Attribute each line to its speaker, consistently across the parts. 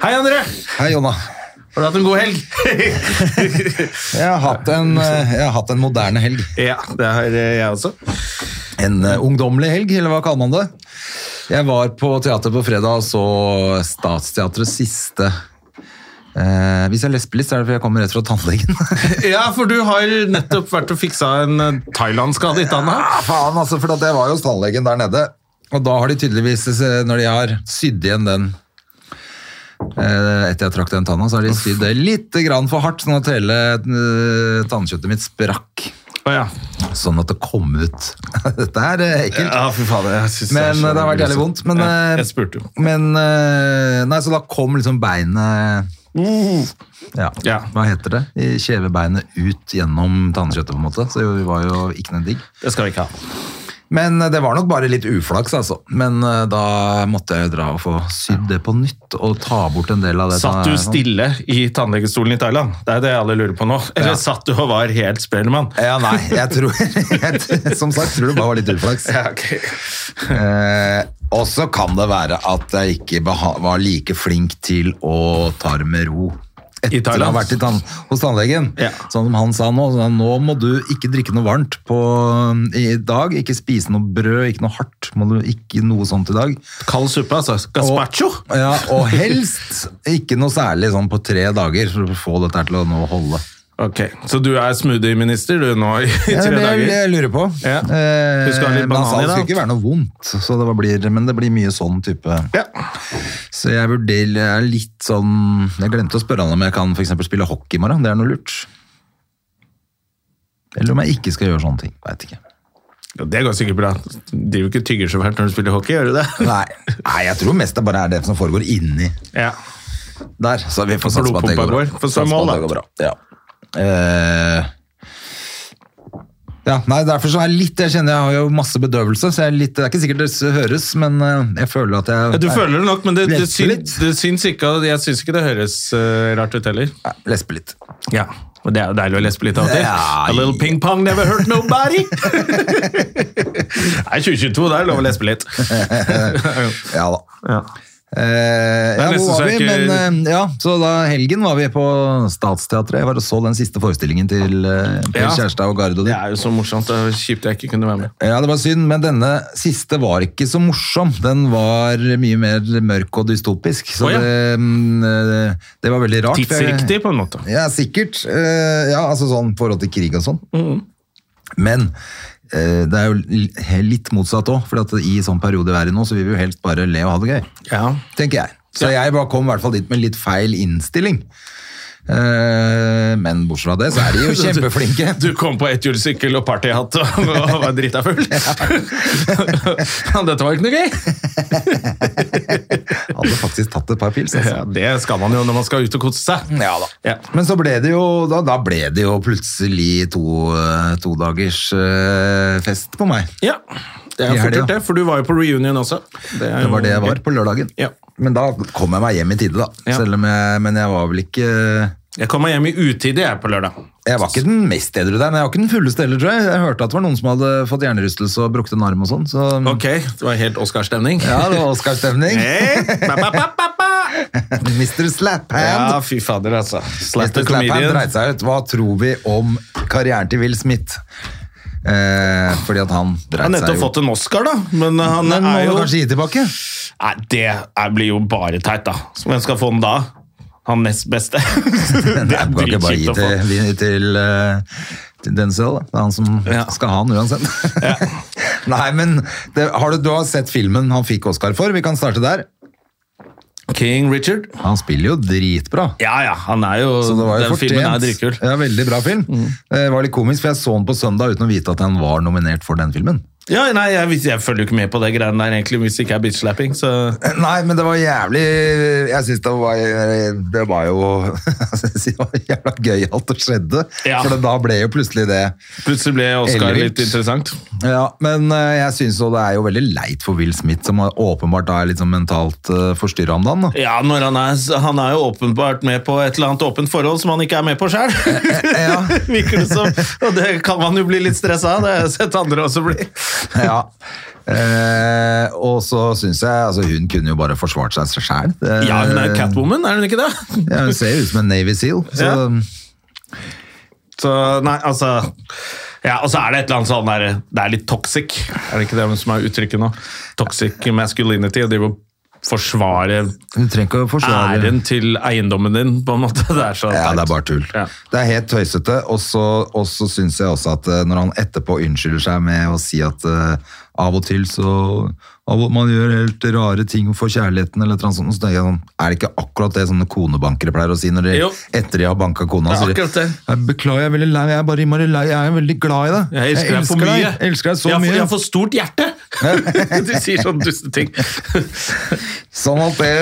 Speaker 1: Hei, André!
Speaker 2: Hei, Jonna.
Speaker 1: Har du hatt en god helg?
Speaker 2: Jeg har hatt en, eh, jeg har hatt en moderne helg.
Speaker 1: ja, det har eh, jeg også.
Speaker 2: En eh, ungdommelig helg, eller hva kaller man det? Jeg var på teater på fredag og så Statsteatrets siste eh, Hvis jeg lesper litt, så er det fordi jeg kommer rett fra tannlegen.
Speaker 1: Ja, for du har nettopp vært og fiksa en eh, thailandskade i tanna.
Speaker 2: Ja, faen, altså, for at jeg var jo hos tannlegen der nede. Og da har de tydeligvis, eh, når de har sydd igjen den eh, etter jeg trakk den tanna, så har de sydd det litt grann for hardt, sånn at hele eh, tannkjøttet mitt sprakk.
Speaker 1: Å ja.
Speaker 2: Sånn at det kom ut. Dette er eh, ekkelt.
Speaker 1: ja, fy fader. Jeg synes
Speaker 2: Men eh,
Speaker 1: så
Speaker 2: det har vært jævlig vondt, men,
Speaker 1: ja,
Speaker 2: eh,
Speaker 1: jeg spurte jo.
Speaker 2: Men eh, Nei, så da kom liksom beinet ja.
Speaker 1: Uh. Ja.
Speaker 2: hva heter det? I Kjevebeinet ut gjennom tannkjøttet, på en måte. Så det var jo ikke noe digg.
Speaker 1: Det skal vi ikke ha.
Speaker 2: Men eh, det var nok bare litt uflaks, altså. Men eh, da måtte jeg jo dra og få sydd det på nytt, og ta bort en del av det.
Speaker 1: Satt du
Speaker 2: sånn.
Speaker 1: stille i tannlegestolen i Thailand? Det er det alle lurer på nå. Eller satt du og var helt Spellemann?
Speaker 2: Ja, nei, jeg tror jeg, t- Som sagt, tror det bare var litt uflaks. Eh, og så kan det være at jeg ikke beha var like flink til å ta det med ro. Etter å
Speaker 1: I
Speaker 2: ha
Speaker 1: Thailand?
Speaker 2: vært i tann hos tannlegen.
Speaker 1: Ja.
Speaker 2: Sånn som han sa nå. sa han, nå må du ikke drikke noe varmt på, i dag. Ikke spise noe brød, ikke noe hardt. Må du ikke noe sånt i dag.
Speaker 1: Kald suppe, altså. Gazpacho?
Speaker 2: Og, ja, og helst ikke noe særlig sånn på tre dager for å få dette her til å nå holde.
Speaker 1: Ok, Så du er smoothie-minister du nå i
Speaker 2: Ja, det er
Speaker 1: tre
Speaker 2: det
Speaker 1: dager?
Speaker 2: jeg lurer på.
Speaker 1: Ja.
Speaker 2: Eh,
Speaker 1: Husk å ha litt
Speaker 2: men han sa
Speaker 1: banan i
Speaker 2: det
Speaker 1: da.
Speaker 2: skulle ikke være noe vondt, så det var- blir, men det blir mye sånn type
Speaker 1: Ja.
Speaker 2: Så jeg vurderer jeg er litt sånn Jeg glemte å spørre han om jeg kan for eksempel spille hockey i morgen. Det er noe lurt. Eller om jeg ikke skal gjøre sånne ting. Veit ikke.
Speaker 1: Ja, Det går sikkert bra. Du driver ikke og tygger så fælt når du spiller hockey, gjør du det?
Speaker 2: Nei. Nei, jeg tror mest det bare er det som foregår inni
Speaker 1: Ja.
Speaker 2: der. Så vi får satse på at det går
Speaker 1: Blodpumpa
Speaker 2: bra.
Speaker 1: går. Får stå i
Speaker 2: Satse på
Speaker 1: mål,
Speaker 2: at det
Speaker 1: da.
Speaker 2: går bra. Ja. Eh, ja, nei, derfor så er jeg litt Jeg kjenner jeg har jo masse bedøvelse, så jeg er litt, det er ikke sikkert det høres, men eh, jeg føler at jeg
Speaker 1: Ja, Du føler det nok, men det, det,
Speaker 2: Lesper
Speaker 1: syns,
Speaker 2: litt.
Speaker 1: det syns ikke Jeg syns ikke det høres eh, rart ut heller.
Speaker 2: Nei, Lesper litt.
Speaker 1: Ja, og Det er jo deilig å lesbe litt av og til.
Speaker 2: Ja,
Speaker 1: A little ping pong never hurt nobody! Nei, 2022, det er lov å lesbe litt.
Speaker 2: Ja da.
Speaker 1: Ja.
Speaker 2: Eh,
Speaker 1: er
Speaker 2: ja,
Speaker 1: nesten
Speaker 2: hvor
Speaker 1: så
Speaker 2: var vi?
Speaker 1: jeg ikke-
Speaker 2: Men, eh, ja, så da helgen var vi på Statsteatret. Jeg var og så den siste forestillingen til, eh, til
Speaker 1: Ja.
Speaker 2: Kjærstad og Gardo.
Speaker 1: Det er jo så morsomt. Det er kjipt jeg ikke kunne være med.
Speaker 2: Ja, det var synd, men denne siste var ikke så morsom. Den var mye mer mørk og dystopisk, så
Speaker 1: Å, ja.
Speaker 2: det, mm, eh, det var veldig rart. for jeg-
Speaker 1: Tidsriktig, på en måte.
Speaker 2: Ja, sikkert. Eh, ja, altså sånn forhold til krig og sånn.
Speaker 1: Mm.
Speaker 2: Men eh, det er jo l- he- litt motsatt òg, for at i sånn periode vi er i nå, så vil vi jo helst bare le og ha det gøy.
Speaker 1: Ja.
Speaker 2: tenker jeg. Så jeg bare kom i hvert fall dit med litt feil innstilling. Eh, men bortsett fra det, så er de jo kjempeflinke.
Speaker 1: Du kom på etthjulssykkel og partyhatt og, og var drita full. Dette var ikke noe gøy!
Speaker 2: Hadde faktisk tatt et par pils.
Speaker 1: Ja,
Speaker 2: Altså.
Speaker 1: det skal man jo når man skal ut og kose seg.
Speaker 2: Ja da.
Speaker 1: Ja.
Speaker 2: Men så ble det jo, da, da ble det jo plutselig to, eh, to dagers eh, fest på meg.
Speaker 1: Ja, det er
Speaker 2: I
Speaker 1: jo fort
Speaker 2: helga.
Speaker 1: gjort, det. For du var jo på reunion også. Det, er
Speaker 2: Det var
Speaker 1: jo
Speaker 2: det jeg var
Speaker 1: gøy.
Speaker 2: på lørdagen.
Speaker 1: Ja.
Speaker 2: Men da kom jeg meg hjem i tide, da.
Speaker 1: Ja.
Speaker 2: Selv om jeg, men jeg var vel ikke
Speaker 1: Jeg kom meg hjem i utide jeg på lørdag.
Speaker 2: Jeg var ikke den mest edru der, men jeg var ikke den fulleste heller, tror jeg. Jeg hørte at det var noen som hadde fått hjernerystelse og brukket en arm og sånn, så
Speaker 1: Ok, det var helt Oscar-stemning.
Speaker 2: ja, det var Oscar-stemning.
Speaker 1: Hey, ba, ba, ba, ba, ba.
Speaker 2: Mr. Slaphand.
Speaker 1: Ja, fy fader, altså. Slap
Speaker 2: Mr.
Speaker 1: the
Speaker 2: Clapham
Speaker 1: comedian.
Speaker 2: dreit seg ut. Hva tror vi om karrieren til Will Smith? Eh, fordi at han
Speaker 1: Han har
Speaker 2: dreit
Speaker 1: nettopp
Speaker 2: seg ut.
Speaker 1: fått en Oscar, da. Men eh, han
Speaker 2: Den må
Speaker 1: er
Speaker 2: du
Speaker 1: jo
Speaker 2: kanskje gi tilbake.
Speaker 1: Nei, det er, blir jo bare teit, da. Så Hvem skal få den da? Han nest beste.
Speaker 2: Den
Speaker 1: det
Speaker 2: kan ikke bare gi til, til, eh, til Denzel. da. Det er han som
Speaker 1: Ja.
Speaker 2: skal ha den uansett. Nei, men det, har du, du har sett filmen han fikk Oscar for. Vi kan starte der.
Speaker 1: King Richard.
Speaker 2: Han spiller jo dritbra.
Speaker 1: Ja, ja, han er jo,
Speaker 2: Så det var jo
Speaker 1: Den
Speaker 2: fortjent.
Speaker 1: filmen er Mm. dritkul.
Speaker 2: Eh, Ja, veldig bra film. Det var litt komisk, for jeg så den på søndag uten å vite at han var nominert for den filmen.
Speaker 1: Ja, nei, jeg, vis- jeg følger jo ikke med på det greiene der egentlig, hvis det ikke er bitch-slapping. Så
Speaker 2: Nei, men det var jævlig Jeg syns det var Det var jo altså, jeg synes Det var jævla gøy alt det skjedde.
Speaker 1: Ja.
Speaker 2: For da ble jo plutselig det.
Speaker 1: plutselig ble Oscar
Speaker 2: Ellevilt.
Speaker 1: litt interessant.
Speaker 2: Ja, Men eh, jeg syns jo det er jo veldig leit for Will Smith, som er- åpenbart da er litt sånn mentalt uh, forstyrra om dagen. da.
Speaker 1: Ja, når han er, han er jo åpenbart med på et eller annet åpent forhold som han ikke er med på sjøl.
Speaker 2: Eh, Ja.
Speaker 1: Virker det som. Og det kan man jo bli litt stressa av. Det har jeg sett andre også bli.
Speaker 2: ja. Eh, og så syns jeg altså Hun kunne jo bare forsvart seg sjæl.
Speaker 1: Ja, hun
Speaker 2: Eh.
Speaker 1: er Catwoman, er hun ikke det?
Speaker 2: Ja, hun ser jo ut som en Navy Seal. Så,
Speaker 1: Ja. Så nei, altså ja, Og så er det et eller annet sånn der Det er litt toxic, er det ikke det som er uttrykket nå? Toxic masculinity. Og de vil forsvare
Speaker 2: Hun trenger ikke å forsvare
Speaker 1: æren til eiendommen din, på en måte. Det er så
Speaker 2: Ja, det er
Speaker 1: teit.
Speaker 2: bare tull.
Speaker 1: Ja.
Speaker 2: Det er helt tøysete, og så, og så syns jeg også at eh, når han etterpå unnskylder seg med å si at eh, av og til så av og, Man gjør helt rare ting for kjærligheten, eller et eller annet sånt. Så tenker jeg sånn, er det ikke akkurat det sånne konebankere pleier å si når de,
Speaker 1: Jo.
Speaker 2: etter de har banka kona?
Speaker 1: Det er
Speaker 2: så de,
Speaker 1: akkurat det.
Speaker 2: Jeg beklager, jeg er veldig lei, jeg er bare innmari lei, jeg er veldig glad i deg.
Speaker 1: Jeg elsker deg for mye.
Speaker 2: deg, Jeg elsker deg så
Speaker 1: jeg har for-
Speaker 2: mye.
Speaker 1: Jeg har for stort hjerte! du sier sånne duste ting.
Speaker 2: Sånn at det,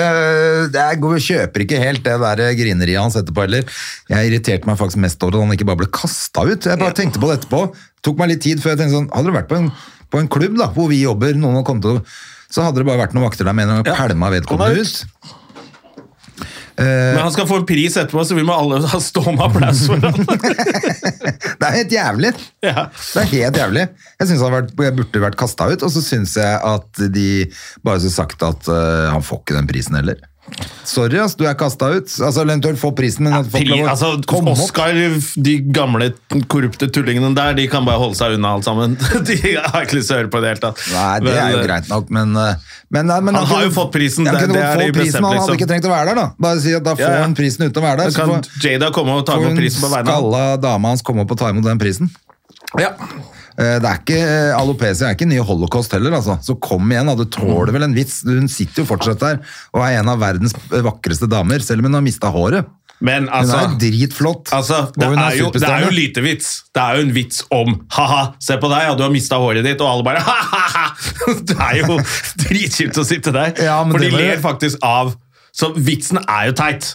Speaker 2: det er, Jeg kjøper ikke helt det der grineriet hans etterpå heller. Jeg irriterte meg faktisk mest over at han ikke bare ble kasta ut. Jeg bare tenkte på det etterpå. tok meg litt tid før jeg tenkte sånn Hadde det vært på en, på en klubb da, hvor vi jobber, noen hadde kommet til å- så hadde det bare vært noen vakter der med en gang og
Speaker 1: Ja.
Speaker 2: pælma
Speaker 1: Kom
Speaker 2: vedkommende
Speaker 1: deg
Speaker 2: ut. Eh.
Speaker 1: Men han skal få en pris etterpå, så vi må alle ha stående applaus for han.
Speaker 2: Det er helt jævlig.
Speaker 1: Ja.
Speaker 2: Det er helt jævlig. Jeg synes han har vært, jeg burde vært kasta ut, og så syns jeg at de bare skulle sagt at eh, han får ikke den prisen heller. Sorry, ass, du er kasta ut. Altså, eventuelt få prisen, men at folk
Speaker 1: Pri,
Speaker 2: lov å
Speaker 1: altså,
Speaker 2: komme opp.
Speaker 1: Oscar, de gamle korrupte tullingene der, de kan bare holde seg unna alt sammen. De har ikke lyst til å høre på det i det hele tatt.
Speaker 2: Nei, det er jo
Speaker 1: Men,
Speaker 2: greit nok, men, eh, men, nei, men
Speaker 1: eh, Han har jo fått prisen,
Speaker 2: Han
Speaker 1: det-
Speaker 2: kunne
Speaker 1: det
Speaker 2: godt
Speaker 1: er
Speaker 2: få
Speaker 1: det beste,
Speaker 2: prisen, han hadde
Speaker 1: liksom.
Speaker 2: ikke trengt å være der, da. Bare si at da får
Speaker 1: Ja, ja.
Speaker 2: han prisen uten å være der.
Speaker 1: Da
Speaker 2: Så
Speaker 1: kan
Speaker 2: får,
Speaker 1: Jada komme og ta
Speaker 2: får
Speaker 1: imot
Speaker 2: hun
Speaker 1: prisen på vegne av
Speaker 2: skalla dama hans komme opp og ta imot den prisen.
Speaker 1: Ja.
Speaker 2: Eh, Det er ikke, eh, Alopecia er ikke nye holocaust heller, altså. Så kom igjen, da. Du tåler vel en vits. Hun sitter jo fortsatt der og er en av verdens eh, vakreste damer, selv om hun har mista håret.
Speaker 1: Men
Speaker 2: Hun
Speaker 1: altså,
Speaker 2: er jo dritflott.
Speaker 1: altså
Speaker 2: og
Speaker 1: det,
Speaker 2: hun
Speaker 1: er jo, det er jo
Speaker 2: superstjerne.
Speaker 1: lite vits. Det er jo en vits om ha-ha, se på deg, ja, du har mista håret ditt, og alle bare ha-ha-ha. Det er jo dritkjipt å sitte der.
Speaker 2: Ja, men
Speaker 1: for de
Speaker 2: det var-
Speaker 1: ler faktisk av Så vitsen er jo teit.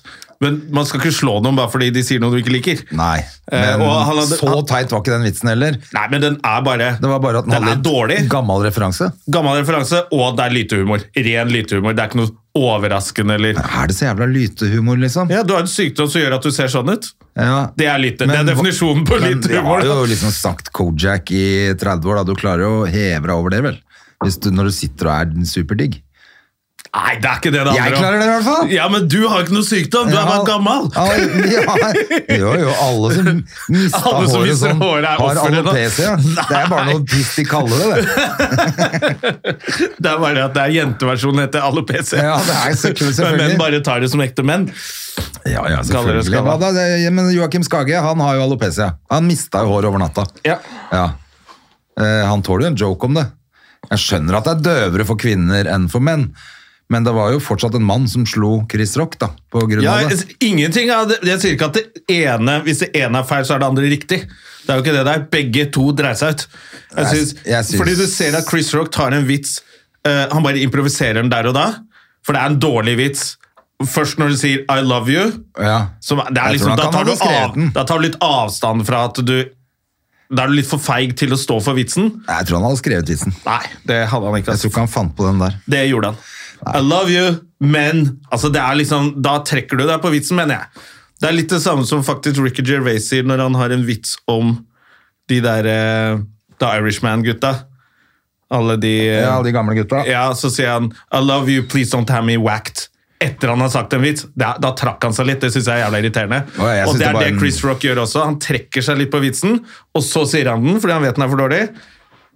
Speaker 1: Men man skal ikke slå noen bare fordi de sier noe du ikke liker.
Speaker 2: Nei,
Speaker 1: Eh,
Speaker 2: men
Speaker 1: og han hadde-
Speaker 2: så teit var ikke den vitsen heller.
Speaker 1: Nei, men den er bare
Speaker 2: Det var bare at den
Speaker 1: Den
Speaker 2: hadde
Speaker 1: er dårlig.
Speaker 2: en gammel referanse.
Speaker 1: Gammel referanse, og det er lytehumor. Ren lytehumor. Det er ikke noe overraskende eller
Speaker 2: Er det så jævla lytehumor, liksom?
Speaker 1: Ja, du har en sykdom som gjør at du ser sånn ut.
Speaker 2: Ja.
Speaker 1: Det er lyte.
Speaker 2: Men
Speaker 1: det er
Speaker 2: hva-
Speaker 1: definisjonen på
Speaker 2: Men vi
Speaker 1: lytehumor.
Speaker 2: har
Speaker 1: da.
Speaker 2: jo liksom sagt Kojak i 30 år, da. Du klarer jo å heve deg over det, vel? Hvis du, når du sitter og er den superdigg.
Speaker 1: Nei, det er ikke det det handler om.
Speaker 2: Jeg klarer det i hvert fall!
Speaker 1: Ja, men du har ikke noe sykdom. Du er bare gammel.
Speaker 2: Ja, ja, jo, jo, alle som mista
Speaker 1: Alle som
Speaker 2: håret
Speaker 1: mister
Speaker 2: sånn,
Speaker 1: håret er
Speaker 2: har
Speaker 1: ofre, da.
Speaker 2: alopecia. Det er bare noe piss de kaller det, det.
Speaker 1: Det er bare at det er jenteversjonen etter alle PC.
Speaker 2: Ja, det er så kult, selvfølgelig.
Speaker 1: Men menn bare tar det som ekte menn.
Speaker 2: Ja, ja,
Speaker 1: Kaller det
Speaker 2: selvfølgelig. Ja,
Speaker 1: skalla.
Speaker 2: da, det- men Joakim Skage, han har jo alopecia. Han mista jo håret over natta.
Speaker 1: Ja.
Speaker 2: Ja. Eh, han tåler jo en joke om det. Jeg skjønner at det er døvere for kvinner enn for menn, men det var jo fortsatt en mann som slo Chris Rock, da, på grunn
Speaker 1: Ja, altså,
Speaker 2: av det.
Speaker 1: ingenting av det. Jeg sier ikke at det ene, hvis det ene er feil, så er det andre riktig. Det er jo ikke det der. Begge to dreier seg ut. Jeg
Speaker 2: Jeg-
Speaker 1: synes,
Speaker 2: jeg synes-
Speaker 1: Fordi du ser at Chris Rock tar en vits, eh, han bare improviserer den der og da, for det er en dårlig vits. Først når du sier I love you,
Speaker 2: Ja.
Speaker 1: som, det er
Speaker 2: Jeg
Speaker 1: liksom,
Speaker 2: tror nok
Speaker 1: da,
Speaker 2: han
Speaker 1: tar du
Speaker 2: hadde skrevet
Speaker 1: av,
Speaker 2: den.
Speaker 1: da tar du litt avstand fra at du Da er du litt for feig til å stå for vitsen.
Speaker 2: Nei, Jeg tror han hadde skrevet vitsen.
Speaker 1: Nei, det hadde han ikke.
Speaker 2: Jeg tror
Speaker 1: Altså.
Speaker 2: ikke han fant på den der.
Speaker 1: Det gjorde han. I love you, men altså det er liksom, Da trekker du deg på vitsen, mener jeg. Det er litt det samme som faktisk Ricky Gervais sier når han har en vits om de der eh, The Irishman-gutta. Alle de eh,
Speaker 2: Ja, de gamle gutta.
Speaker 1: ja, så sier han I love you, please don't have me whacked. Etter han har sagt en vits. Da, da trakk han seg litt. Det syns jeg er jævla irriterende.
Speaker 2: Å, jeg
Speaker 1: og
Speaker 2: synes
Speaker 1: det
Speaker 2: det
Speaker 1: er
Speaker 2: var
Speaker 1: det
Speaker 2: en-
Speaker 1: Chris Rock gjør også. Han trekker seg litt på vitsen, og så sier han den fordi han vet den er for dårlig.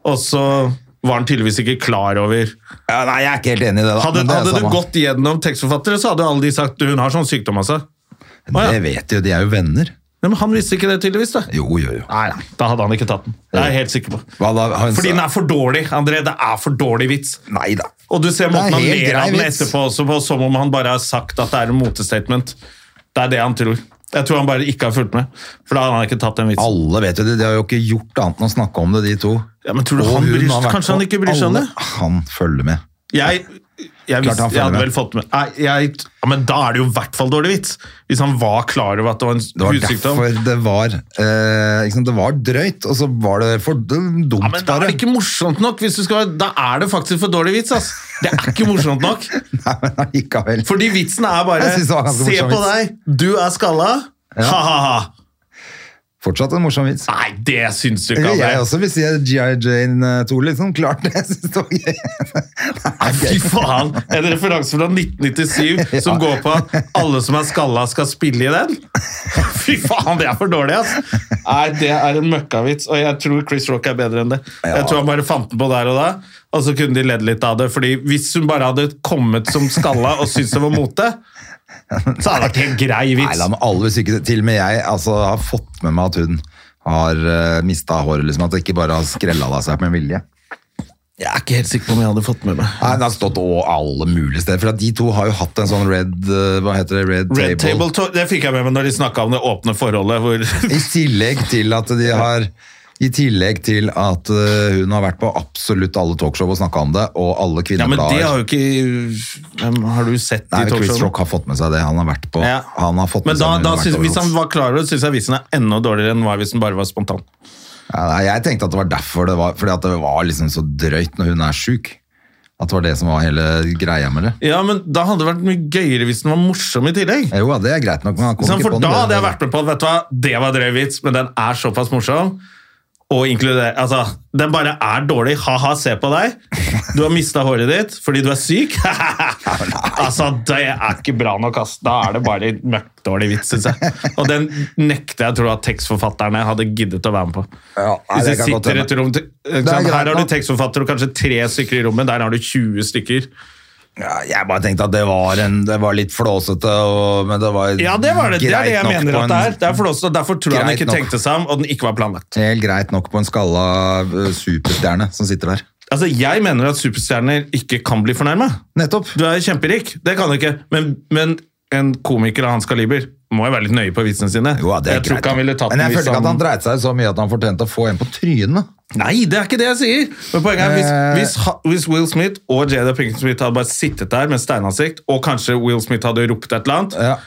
Speaker 1: Og så var han tydeligvis ikke klar over
Speaker 2: Ja, nei, jeg er ikke helt enig i det, da.
Speaker 1: Hadde,
Speaker 2: men det er
Speaker 1: hadde du
Speaker 2: samme.
Speaker 1: gått gjennom tekstforfattere, så hadde alle de sagt du, hun har sånn sykdom, altså. Å, ja.
Speaker 2: Det vet de jo, de er jo venner.
Speaker 1: Nei, men han visste ikke det, tydeligvis. da.
Speaker 2: Jo, jo, jo.
Speaker 1: Nei, nei, Da hadde han ikke tatt den. Det er jeg helt sikker på.
Speaker 2: Hva da? Han
Speaker 1: Fordi
Speaker 2: sa-
Speaker 1: den er for dårlig, André. Det er for dårlig vits.
Speaker 2: Nei da.
Speaker 1: Og du ser
Speaker 2: Det er
Speaker 1: måten han
Speaker 2: helt
Speaker 1: ler av
Speaker 2: grei
Speaker 1: den
Speaker 2: vits.
Speaker 1: etterpå også, på, som om han bare har sagt at det er en motestatement. Det er det han tror. Jeg tror han bare ikke har fulgt med, for da hadde han ikke tatt den vitsen.
Speaker 2: Alle vet jo det, de har jo ikke gjort annet enn å snakke om det, de to.
Speaker 1: Ja, men tror du
Speaker 2: Og
Speaker 1: han
Speaker 2: hun
Speaker 1: bryr,
Speaker 2: har vært
Speaker 1: Kanskje han
Speaker 2: på
Speaker 1: ikke bryr seg om det?
Speaker 2: alle- Han følger med.
Speaker 1: Jeg, jeg,
Speaker 2: Klart
Speaker 1: visste,
Speaker 2: han følger
Speaker 1: jeg hadde
Speaker 2: med.
Speaker 1: vel fått med Nei, jeg, ja, Men da er det jo i hvert fall dårlig vits! Hvis han var klar over at det var
Speaker 2: Det var
Speaker 1: en hudsykdom.
Speaker 2: derfor det var eh, ikke sant? Det var drøyt, og så var det for dumt,
Speaker 1: Ja, men da er
Speaker 2: bare.
Speaker 1: det ikke morsomt nok! Hvis du skal, da er det faktisk for dårlig vits, ass! Det er ikke morsomt nok!
Speaker 2: Nei, men allikevel.
Speaker 1: Fordi vitsen er bare
Speaker 2: Jeg synes det var ganske
Speaker 1: Se
Speaker 2: morsom
Speaker 1: på
Speaker 2: vits.
Speaker 1: deg, du er skalla! Ha-ha-ha!
Speaker 2: Fortsatt en morsom vits.
Speaker 1: Nei, det syns du ikke,
Speaker 2: Eller jeg
Speaker 1: André!
Speaker 2: også vil si at G.I. Jane 2, liksom. Klart det. Jeg synes det var gøy.
Speaker 1: Nei, Fy faen! En referanse fra 1997 som går på at alle som er skalla, skal spille i den? Fy faen, det er for dårlig, ass! Nei, det er en møkkavits, og jeg tror Chris Rock er bedre enn det. Jeg tror han bare fant den på der og da, og så kunne de ledd litt av det. fordi hvis hun bare hadde kommet som skalla og syntes det var mote, så hadde det ikke en grei
Speaker 2: Nei,
Speaker 1: vits.
Speaker 2: la meg alle syke Til og med jeg altså, har fått med meg at hun har uh, mista håret, liksom. At det ikke bare har skrella det av seg med vilje.
Speaker 1: Jeg er ikke helt sikker på om jeg hadde fått med meg.
Speaker 2: Nei, det har stått å, alle mulige steder. For at de to har jo hatt en sånn red eh, Hva heter det? Red,
Speaker 1: Red Table Talk, Det fikk jeg med meg når de snakka om det åpne forholdet. hvor...
Speaker 2: I tillegg til at de har I tillegg til at eh, hun har vært på absolutt alle talkshow og snakka om det, og alle
Speaker 1: Ja, men det
Speaker 2: kvinneblader.
Speaker 1: har jo ikke Hvem Har du sett de
Speaker 2: Nei, Chris
Speaker 1: talkshowene?
Speaker 2: Rock har fått med seg det. Han har vært på
Speaker 1: Ja.
Speaker 2: han har fått
Speaker 1: Men
Speaker 2: med
Speaker 1: da,
Speaker 2: seg
Speaker 1: da
Speaker 2: har vært
Speaker 1: synes, hvis han
Speaker 2: overalt.
Speaker 1: var klar over det, syns jeg visen er enda dårligere enn hva hvis den bare var spontan.
Speaker 2: ja, nei, Jeg tenkte at det var derfor det var Fordi at det var liksom så drøyt når hun er sjuk. At det var det som var hele greia med det.
Speaker 1: Ja, men Da hadde det vært mye gøyere hvis den var morsom i tillegg.
Speaker 2: Jo, ja, det er greit nok. Men han kom
Speaker 1: Sånn,
Speaker 2: ikke
Speaker 1: for
Speaker 2: på
Speaker 1: Da
Speaker 2: noe.
Speaker 1: hadde jeg vært med på at vet du hva, det var drøy vits, men den er såpass morsom. Og inkluder, altså, Den bare er dårlig. Ha-ha, se på deg. Du har mista håret ditt fordi du er syk. altså, Det er ikke bra nok. ass. Da er det bare møkkdårlig vits, syns jeg. Og den nekter jeg å tro at tekstforfatterne hadde giddet å være med på.
Speaker 2: Ja, nei, det
Speaker 1: Hvis
Speaker 2: kan
Speaker 1: jeg
Speaker 2: godt
Speaker 1: sitter i et
Speaker 2: hende.
Speaker 1: rom til, ikke
Speaker 2: Det er
Speaker 1: sant?
Speaker 2: greit
Speaker 1: Her har
Speaker 2: nok.
Speaker 1: du tekstforfatter og kanskje tre stykker i rommet. Der har du 20 stykker.
Speaker 2: ja, jeg bare tenkte at det var, en, det var litt flåsete, og, men det var
Speaker 1: Ja, det var det. Det er det
Speaker 2: greit
Speaker 1: jeg
Speaker 2: nok
Speaker 1: mener
Speaker 2: på
Speaker 1: at det
Speaker 2: en-
Speaker 1: er. Det er for oss, og derfor tror jeg han
Speaker 2: Greit
Speaker 1: ikke
Speaker 2: nok.
Speaker 1: tenkte seg om, og den ikke var planlagt.
Speaker 2: Helt greit nok på en skalla eh, superstjerne som sitter der.
Speaker 1: Altså, Jeg mener at superstjerner ikke kan bli fornærma.
Speaker 2: Nettopp.
Speaker 1: Du er kjemperik, det kan du ikke. Men, men en komiker av hans kaliber må jo være litt nøye på vitsene sine.
Speaker 2: Jo, ja, det er
Speaker 1: jeg tror
Speaker 2: greit.
Speaker 1: ikke han ville tatt
Speaker 2: Men
Speaker 1: den
Speaker 2: jeg
Speaker 1: hvis
Speaker 2: følte ikke at han
Speaker 1: han...
Speaker 2: dreit seg ut så mye at han fortjente å få en på trynet.
Speaker 1: Nei, det er ikke det jeg sier! Men poenget er, hvis,
Speaker 2: Eh.
Speaker 1: hvis, ha- hvis Will Smith og Jada Pinkton Smith hadde bare sittet der med steinansikt, og kanskje Will Smith hadde ropt et eller annet,
Speaker 2: Ja.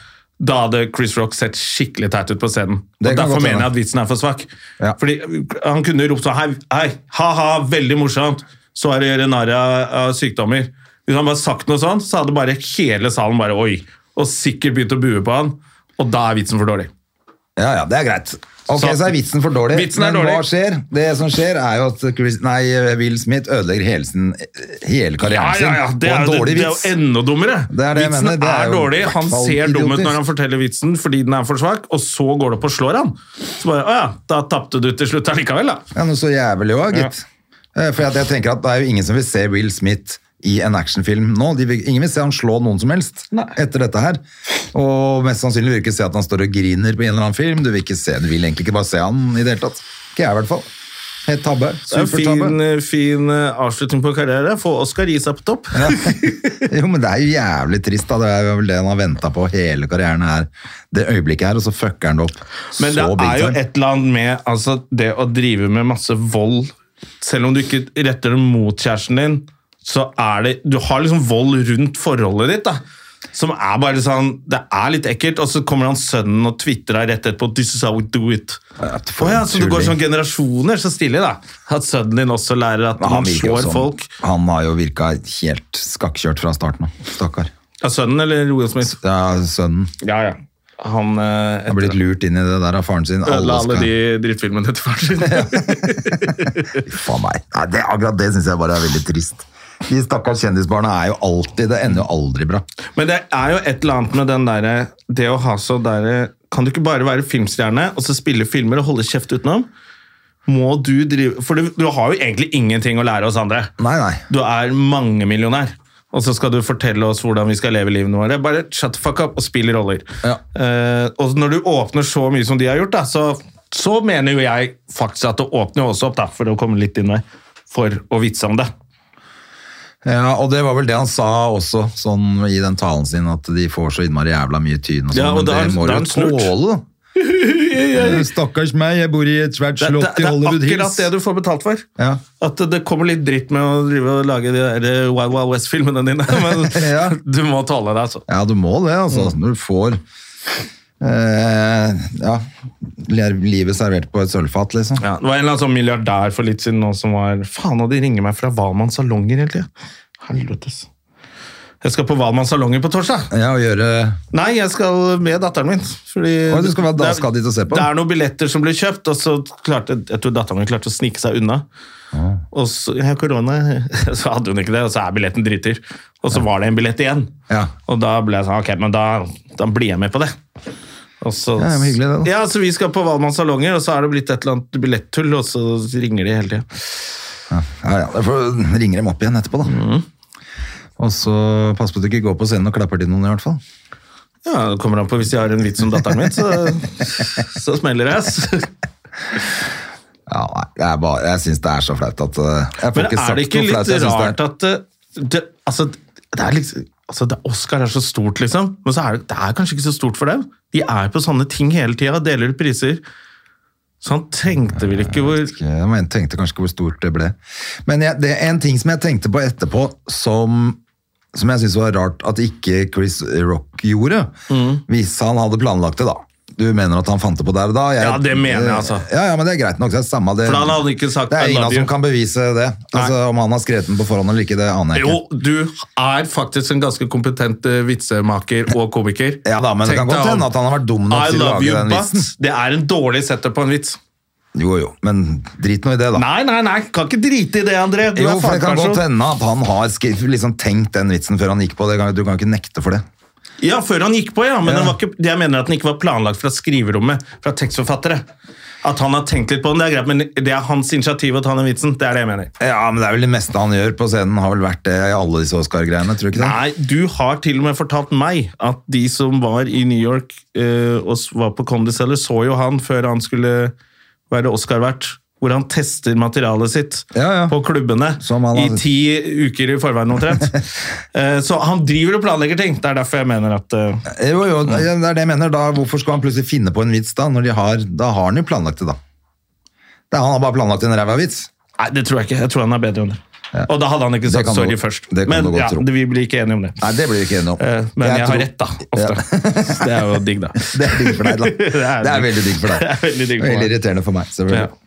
Speaker 1: da hadde Chris Rock sett skikkelig teit ut på scenen. Og
Speaker 2: Det kan
Speaker 1: Derfor
Speaker 2: godt hende.
Speaker 1: mener jeg at vitsen er for svak.
Speaker 2: Ja.
Speaker 1: Fordi Han kunne ropt sånn hei, hei, ha-ha, veldig morsomt, så er det å gjøre narr av av sykdommer. Hvis han bare sagt noe sånt, så hadde bare hele salen bare oi, og sikkert begynt å bue på han, og da er vitsen for dårlig.
Speaker 2: ja, ja, det er greit. Ok,
Speaker 1: Så-
Speaker 2: så, er vitsen for dårlig.
Speaker 1: Vitsen er
Speaker 2: Men
Speaker 1: dårlig.
Speaker 2: hva skjer? Det som skjer er jo at Chris, nei, Will Smith ødelegger hele, sin, hele
Speaker 1: Ja,
Speaker 2: karrieren sin.
Speaker 1: ja, ja, det
Speaker 2: og
Speaker 1: er,
Speaker 2: en
Speaker 1: jo-
Speaker 2: dårlig
Speaker 1: det er
Speaker 2: vits.
Speaker 1: jo enda dummere.
Speaker 2: Det er det jeg
Speaker 1: vitsen
Speaker 2: mener, det er
Speaker 1: er,
Speaker 2: jo
Speaker 1: dårlig,
Speaker 2: i hvert
Speaker 1: han
Speaker 2: fall
Speaker 1: ser dum ut
Speaker 2: idiotisk.
Speaker 1: når han forteller vitsen fordi den er for svak, og så går det opp og slår han. Så bare, å ja, da tapte du til slutt allikevel, da.
Speaker 2: Ja, noe så jævlig òg, gitt. Eh, For at jeg tenker at det er jo ingen som vil se Will Smith i en actionfilm nå. De vil, ingen vil se han slå noen som helst etter dette her. Og mest sannsynlig vil du ikke se at han står og griner på en eller annen film. Du vil ikke se, du vil egentlig ikke bare se han i det hele tatt. Ikke jeg, i hvert fall. Helt tabbe.
Speaker 1: Det er en
Speaker 2: Supertabbe.
Speaker 1: fin, fin eh, avslutning på karriere. Få Oscar Isa på topp.
Speaker 2: Jo, men det er jo jævlig trist, da. Det er jo vel det han har venta på hele karrieren her. Det øyeblikket her, og så fucker han det opp.
Speaker 1: Men det
Speaker 2: så big
Speaker 1: er jo
Speaker 2: time.
Speaker 1: et eller annet med altså, det å drive med masse vold Selv om du ikke retter det mot kjæresten din, så er det Du har liksom vold rundt forholdet ditt, da. Som er bare sånn Det er litt ekkelt, og så kommer han sønnen og tvitrer rett etterpå. This is how we do it.
Speaker 2: for
Speaker 1: Å ja,
Speaker 2: en
Speaker 1: så det går
Speaker 2: tulling.
Speaker 1: sånn generasjoner. Så stilig, da. At sønnen din også lærer at
Speaker 2: Men han
Speaker 1: man
Speaker 2: virker jo sånn.
Speaker 1: slår
Speaker 2: som-
Speaker 1: folk.
Speaker 2: Han har jo virka helt skakkjørt fra starten av. Stakkar.
Speaker 1: Ja, sønnen eller Will Smith?
Speaker 2: Det er sønnen.
Speaker 1: Ja, ja. Han eh,
Speaker 2: Han har blitt lurt inn i det der av faren sin.
Speaker 1: Ødela
Speaker 2: skal-
Speaker 1: alle de drittfilmene til faren sin.
Speaker 2: Faen meg. Nei, det, akkurat det syns jeg bare er veldig trist. De stakkars kjendisbarna er jo alltid Det ender jo aldri bra.
Speaker 1: Men det er jo et eller annet med den derre Det å ha så derre Kan du ikke bare være filmstjerne og så spille filmer og holde kjeft utenom? Må du drive For du, du har jo egentlig ingenting å lære oss andre.
Speaker 2: Nei, nei.
Speaker 1: Du er mangemillionær. Og så skal du fortelle oss hvordan vi skal leve livene våre. Bare shut the fuck up og spill roller.
Speaker 2: Ja.
Speaker 1: Eh, og når du åpner så mye som de har gjort, da, så, så mener jo jeg faktisk at det åpner jo også opp, da, for å komme litt inn med, for å vitse om det.
Speaker 2: Ja, og det var vel det han sa også, sånn i den talen sin, at de får så innmari jævla mye tyn og sånn,
Speaker 1: Ja, og
Speaker 2: men
Speaker 1: da er-
Speaker 2: det må
Speaker 1: da er
Speaker 2: du
Speaker 1: han snurt.
Speaker 2: tåle. da. Stakkars meg, jeg bor i et svært
Speaker 1: Det, det,
Speaker 2: slott
Speaker 1: det
Speaker 2: i
Speaker 1: er
Speaker 2: Hollywood
Speaker 1: akkurat
Speaker 2: Hills.
Speaker 1: det du får betalt for.
Speaker 2: Ja.
Speaker 1: At det kommer litt dritt med å drive og lage de der eh, Wild Wild West-filmene dine, men
Speaker 2: Ja.
Speaker 1: du må tåle det, altså.
Speaker 2: Ja, du må det, altså.
Speaker 1: Mm.
Speaker 2: Når du får eh, ja, ler- livet servert på et sølvfat, liksom.
Speaker 1: Ja, det var en eller annen sånn milliardær for litt siden nå som var Faen, og de ringer meg fra Valmanns salonger hele tida. Helvetes. Jeg skal på Valmanns salonger på torsdag.
Speaker 2: Ja, å gjøre
Speaker 1: Nei, jeg skal med datteren min. Fordi
Speaker 2: Å, du skal være- da
Speaker 1: det er-
Speaker 2: skal dit og se på den?
Speaker 1: Det er noen billetter som ble kjøpt, og så klarte jeg tror datteren min klarte å snike seg unna.
Speaker 2: Ah.
Speaker 1: Og så, ja, korona, så hadde hun ikke det, og så er billetten dritdyr. Og så var det en billett igjen.
Speaker 2: Ja.
Speaker 1: Og da ble jeg sånn, ok, men da, da blir jeg med på det. Og så,
Speaker 2: Ja, men hyggelig det da.
Speaker 1: Ja, så vi skal på Valmanns salonger, og så er det blitt et eller annet billetttull, og så ringer de hele tiden.
Speaker 2: Ja, ja, da får- ringer dem opp igjen etterpå, da. Og så pass på at du ikke går på scenen og klapper til noen, i hvert fall.
Speaker 1: Ja, det kommer an på hvis jeg har en vits om datteren min, så, så smeller det. ass.
Speaker 2: Ja, nei, det er bare, jeg syns det er så flaut at eh, Jeg får
Speaker 1: Men
Speaker 2: ikke
Speaker 1: er det
Speaker 2: sagt
Speaker 1: ikke
Speaker 2: noe
Speaker 1: litt
Speaker 2: flaut. Jeg syns det er
Speaker 1: rart at det, det, altså, det er liksom, altså, det, Oscar er så stort, liksom, men så er det, det er kanskje ikke så stort for dem? De er på sånne ting hele tida, deler ut priser. Så han trengte vel ikke hvor
Speaker 2: Ikke- Jeg men- tenkte kanskje ikke hvor stort det ble. Men jeg, det er en ting som jeg tenkte på etterpå, som, som jeg syns var rart at ikke Chris Rock gjorde.
Speaker 1: Mm.
Speaker 2: Hvis han hadde planlagt det, da. Du mener at han fant det på der og da? Jeg-
Speaker 1: Ja, det mener jeg, altså.
Speaker 2: Ja, ja, men det er greit nok. Det er samme det.
Speaker 1: For han hadde ikke sagt
Speaker 2: det er
Speaker 1: I
Speaker 2: ingen
Speaker 1: love
Speaker 2: som
Speaker 1: you.
Speaker 2: kan bevise det. Altså, om han har skrevet den på forhånd eller ikke, det aner jeg ikke.
Speaker 1: Jo, du er faktisk en ganske kompetent eh, vitsemaker og komiker.
Speaker 2: Ja da, men det kan
Speaker 1: Tenkte
Speaker 2: godt hende at han har vært dum nok
Speaker 1: I
Speaker 2: til å
Speaker 1: love
Speaker 2: lage
Speaker 1: you,
Speaker 2: den
Speaker 1: but
Speaker 2: vitsen.
Speaker 1: Det er en dårlig setter på en vits.
Speaker 2: Jo jo, men drit nå i det, da.
Speaker 1: Nei, nei, nei, kan ikke drite i det, André. Du
Speaker 2: Jo,
Speaker 1: er
Speaker 2: for det kan
Speaker 1: fagperson.
Speaker 2: godt hende at han har skri- liksom tenkt den vitsen før han gikk på det. Du kan ikke nekte for det.
Speaker 1: Ja, før han gikk på, ja. Men
Speaker 2: Ja.
Speaker 1: Den var ikke, jeg mener at den ikke var planlagt fra skriverommet, fra tekstforfattere. At han har tenkt litt på den, det er greit, men det er hans initiativ å ta den vitsen. Det er det jeg mener.
Speaker 2: Ja, men det er vel det meste han gjør på scenen, har vel vært det i alle disse Oscar-greiene, tror du ikke det?
Speaker 1: Nei, du har til og med fortalt meg at de som var i New York eh, og s- var på Comedy Cellar, så jo han før han skulle være Oscar-vert, hvor han tester materialet sitt
Speaker 2: Ja, ja.
Speaker 1: på klubbene
Speaker 2: Som han
Speaker 1: i
Speaker 2: har-
Speaker 1: ti uker i forveien omtrent. eh, så han driver og planlegger ting. Det er derfor jeg mener at eh,
Speaker 2: Jo, jo, det er det jeg mener. Da, hvorfor skal han plutselig finne på en vits da? Når de har, da har han jo planlagt det, da. Det, han har bare planlagt en ræva vits.
Speaker 1: Nei, det tror jeg ikke. Jeg tror han er bedre enn det. Og da hadde han
Speaker 2: Det
Speaker 1: ikke sagt
Speaker 2: kan du-
Speaker 1: sorry først.
Speaker 2: det kan
Speaker 1: Men
Speaker 2: du godt
Speaker 1: ja,
Speaker 2: tro.
Speaker 1: vi blir ikke enige om det.
Speaker 2: Nei, det blir vi ikke enige om.
Speaker 1: Eh, Men jeg, har
Speaker 2: tror-
Speaker 1: rett, da. Ofte. Så det er jo digg, da.
Speaker 2: Det er digg for deg, da. Det er, veldig digg for deg.
Speaker 1: Det er veldig digg for
Speaker 2: Veldig
Speaker 1: meg.
Speaker 2: irriterende for meg,
Speaker 1: Ja.
Speaker 2: selvfølgelig.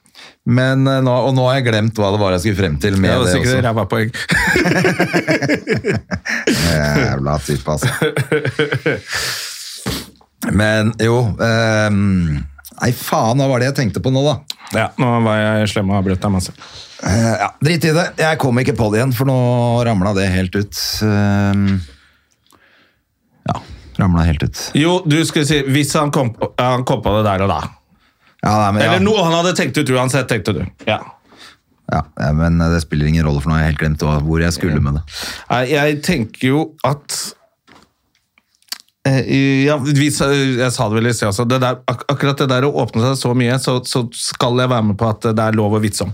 Speaker 2: Men, eh, nå, og nå har jeg glemt hva det var jeg skulle frem til med
Speaker 1: Det var
Speaker 2: det,
Speaker 1: sikkert
Speaker 2: også.
Speaker 1: ræva poeng.
Speaker 2: Jævla type, altså. Men jo eh, Nei, faen, hva var det jeg tenkte på nå, da?
Speaker 1: Ja, nå var jeg slem og avbrøt deg masse.
Speaker 2: Eh, Ja, drit i det. Jeg kom ikke på det igjen, for nå ramla det helt ut. Ehm, Ja, ramla helt ut.
Speaker 1: Jo, du skulle si hvis han kom, på- ja, han kom på det der og da.
Speaker 2: Ja, nei, men, ja.
Speaker 1: Eller noe han hadde tenkt ut uansett, tenkte du. Ja.
Speaker 2: Ja, ja, men det spiller ingen rolle, for nå har jeg helt glemt hva- hvor jeg skulle med det.
Speaker 1: Nei, Jeg tenker jo at eh, ja, vi, sa- Jeg sa det vel i sted også. Det der, ak akkurat det der å åpne seg så mye, så, så skal jeg være med på at det er lov å vitse om.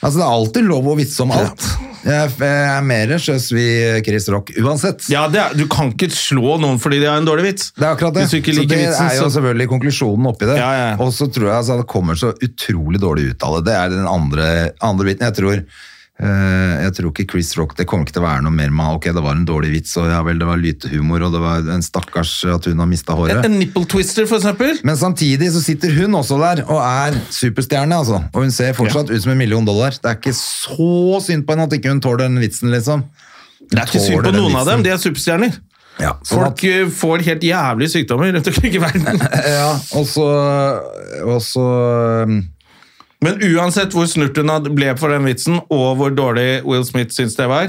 Speaker 2: Altså, Det er alltid lov å vitse om alt. Jeg jeg er mer sjøs vi Chris Rock uansett.
Speaker 1: Ja, det er, Du kan ikke slå noen fordi de har en dårlig vits.
Speaker 2: Det er akkurat det.
Speaker 1: Hvis du
Speaker 2: så
Speaker 1: ikke liker
Speaker 2: det
Speaker 1: vitsen,
Speaker 2: er jo
Speaker 1: så-
Speaker 2: selvfølgelig konklusjonen oppi det.
Speaker 1: Ja, ja.
Speaker 2: Og så tror jeg altså, det kommer så utrolig dårlig ut av det. Det er den andre, andre biten. Jeg tror, eh, jeg tror ikke Chris Rock Det kommer ikke til å være noe mer med Ok, det var en dårlig vits, og ja vel, det var lytehumor, og det var en stakkars at hun har mista
Speaker 1: En,
Speaker 2: håret.
Speaker 1: en nipple twister, for eksempel.
Speaker 2: Men samtidig så sitter hun også der og er superstjerne, altså. Og hun ser fortsatt ut som en million dollar. Det er ikke så synd på henne at ikke hun tåler den vitsen, liksom.
Speaker 1: Det er ikke synd på noen av dem, de er superstjerner.
Speaker 2: ja, sånn at-
Speaker 1: Folk eh, får helt jævlige sykdommer rundt omkring i verden.
Speaker 2: Ja, og så, og så um,
Speaker 1: Men uansett hvor snurt hun hadde- ble for den vitsen, og hvor dårlig Will Smith syns det var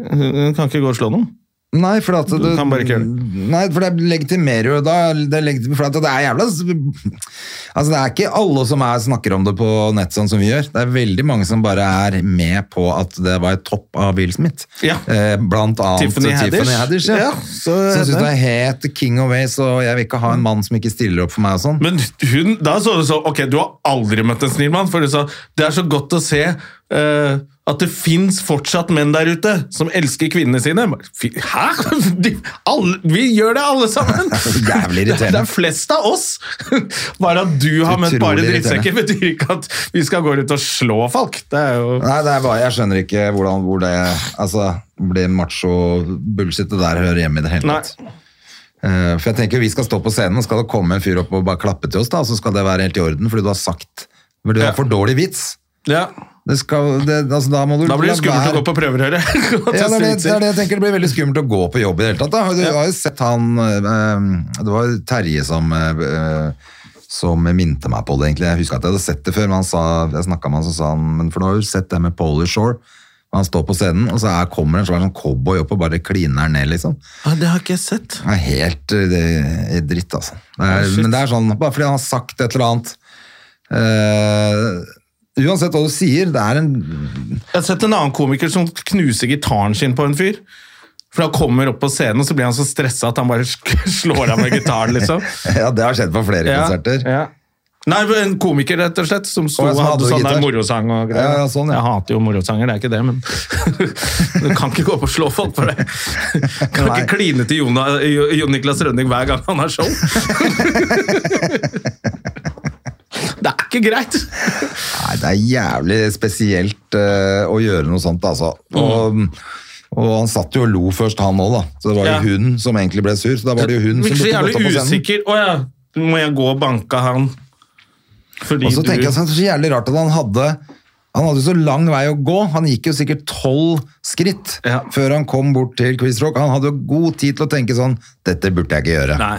Speaker 1: Hun kan ikke gå og slå noen.
Speaker 2: Nei, for at du,
Speaker 1: kan bare ikke gjøre
Speaker 2: Nei, for det legitimerer jo da det, er legit- for at det er jævla Altså, det er ikke alle som er, snakker om det på nett sånn som vi gjør. Det er veldig mange som bare er med på at det var et topp av Will Smith.
Speaker 1: Ja.
Speaker 2: Eh, blant annet
Speaker 1: Tiffany
Speaker 2: Tiffany Haddish.
Speaker 1: Haddish.
Speaker 2: ja.
Speaker 1: Ja, så-
Speaker 2: som syns det er helt king of ways, og jeg vil ikke ha en mann som ikke stiller opp for meg og sånn.
Speaker 1: Men hun, da så du så Ok, du har aldri møtt en snill mann, for du sa det er så godt å se eh, At det fins fortsatt menn der ute som elsker kvinnene sine. Fy- Hæ?! De, alle, vi gjør det, alle sammen!
Speaker 2: Jævlig irriterende.
Speaker 1: Det er- Det er flest av oss! Bare at du har møtt
Speaker 2: Utrolig
Speaker 1: bare
Speaker 2: irriterende.
Speaker 1: drittsekker, betyr ikke at vi skal gå rundt og slå folk. Det er jo
Speaker 2: Nei, det er bare, jeg skjønner ikke hvordan, hvor det altså, blir macho-bullshit. Det der hører hjemme i det hele
Speaker 1: Nei.
Speaker 2: tatt. Eh, for jeg tenker Vi skal stå på scenen, og skal det komme en fyr opp og bare klappe til oss, da, så skal det være helt i orden, fordi du har sagt fordi du
Speaker 1: Ja.
Speaker 2: har for dårlig vits.
Speaker 1: Ja,
Speaker 2: Det skal, det, altså, da, må du
Speaker 1: Da blir det
Speaker 2: la
Speaker 1: skummelt å
Speaker 2: være.
Speaker 1: gå på prøverøret.
Speaker 2: Ja, det, er det, det er det jeg tenker. Det blir veldig skummelt å gå på jobb i det hele tatt. Da. Du har jo sett han eh, Det var Terje som eh, som minte meg på det, egentlig. Jeg husker at jeg hadde sett det før, men han sa, jeg snakka med han, så sa han Men for du har jo sett det med Polar Shore. Han står på scenen, og så er, kommer en svær sånn cowboy opp og bare kliner han ned, liksom.
Speaker 1: Ja, Ah, det har ikke jeg sett.
Speaker 2: Det er helt eh, det er dritt, altså. Det
Speaker 1: Ja,
Speaker 2: er,
Speaker 1: shit.
Speaker 2: men det er sånn, bare fordi han har sagt et eller annet eh, Uansett hva du sier, det er en
Speaker 1: Jeg har sett en annen komiker som knuser gitaren sin på en fyr. For han kommer opp på scenen, og så blir han så stressa at han bare slår av med gitaren, liksom.
Speaker 2: Ja, det har skjedd på flere
Speaker 1: Ja,
Speaker 2: konserter.
Speaker 1: ja. Nei, en komiker, rett og slett, som sto
Speaker 2: Å, ja,
Speaker 1: og
Speaker 2: som
Speaker 1: hadde
Speaker 2: hadde
Speaker 1: sånn der
Speaker 2: gitar.
Speaker 1: morosang og greier.
Speaker 2: Ja, ja, sånn, ja.
Speaker 1: Jeg hater jo morosanger, det er ikke det, men Du kan ikke gå opp og slå folk for det. Kan
Speaker 2: Nei.
Speaker 1: ikke kline til Jona, Jo- Jon Niklas Rønning hver gang han har show. Det er ikke greit!
Speaker 2: Nei, det er jævlig spesielt eh, å gjøre noe sånt, altså. Og, og han satt jo og lo først, han òg, da. Så det var jo
Speaker 1: Mm. Ja. hun
Speaker 2: hun som egentlig ble sur. Så da var det jo hun som
Speaker 1: Virker så
Speaker 2: burde gått opp på
Speaker 1: jævlig
Speaker 2: scenen.
Speaker 1: usikker. Å ja, må jeg gå og banke han? Fordi
Speaker 2: Og så
Speaker 1: du
Speaker 2: tenker jeg sånn, det er så jævlig rart at han hadde han hadde jo så lang vei å gå. Han gikk jo sikkert tolv skritt
Speaker 1: Ja.
Speaker 2: før han kom bort til Quiz Rock. Han hadde jo god tid til å tenke sånn Dette burde jeg ikke gjøre.
Speaker 1: Nei.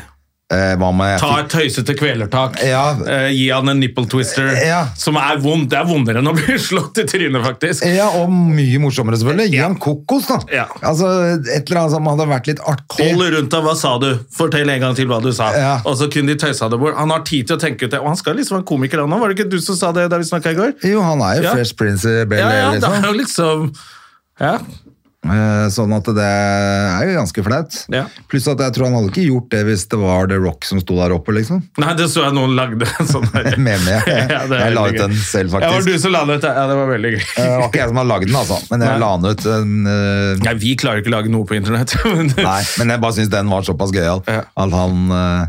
Speaker 2: Eh, hva må jeg
Speaker 1: Ta et tøysete kvelertak.
Speaker 2: Ja.
Speaker 1: Eh, gi han en nipple twister,
Speaker 2: Ja.
Speaker 1: som er vondt. Det er vondere enn å bli slått i trynet, faktisk.
Speaker 2: Ja, og mye morsommere, selvfølgelig. Gi han kokos, da.
Speaker 1: Ja.
Speaker 2: Altså, Et eller annet som hadde vært litt artig.
Speaker 1: Hold rundt deg, hva sa du? Fortell en gang til hva du sa.
Speaker 2: Ja.
Speaker 1: Og så kunne de tøysa det bort. Han har tid til å tenke ut det. Og han skal liksom være en komiker, han òg. Var det ikke du som sa det da vi snakka i går?
Speaker 2: Jo, han er jo
Speaker 1: Ja.
Speaker 2: Fresh Prince i Bel
Speaker 1: Ja,
Speaker 2: Air,
Speaker 1: ja, det
Speaker 2: liksom.
Speaker 1: er jo liksom Ja.
Speaker 2: Eh, Sånn at det er jo ganske flaut.
Speaker 1: Ja.
Speaker 2: Pluss at jeg tror han hadde ikke gjort det hvis det var The Rock som sto der oppe, liksom.
Speaker 1: Nei, det så jeg noen lagde en sånn der.
Speaker 2: Meme, ja.
Speaker 1: Ja, det er
Speaker 2: Jeg la ut
Speaker 1: veldig gøy.
Speaker 2: den selv,
Speaker 1: Ja, var
Speaker 2: faktisk.
Speaker 1: det du som la den ut? Ja, det var veldig gøy.
Speaker 2: Eh, Det var ikke jeg som hadde lagd den, altså, men
Speaker 1: Nei.
Speaker 2: jeg la den ut. En, eh,
Speaker 1: Nei, vi klarer ikke å lage noe på internett. Men,
Speaker 2: nei, men jeg bare syns den var såpass gøyal
Speaker 1: Ja.
Speaker 2: at han eh,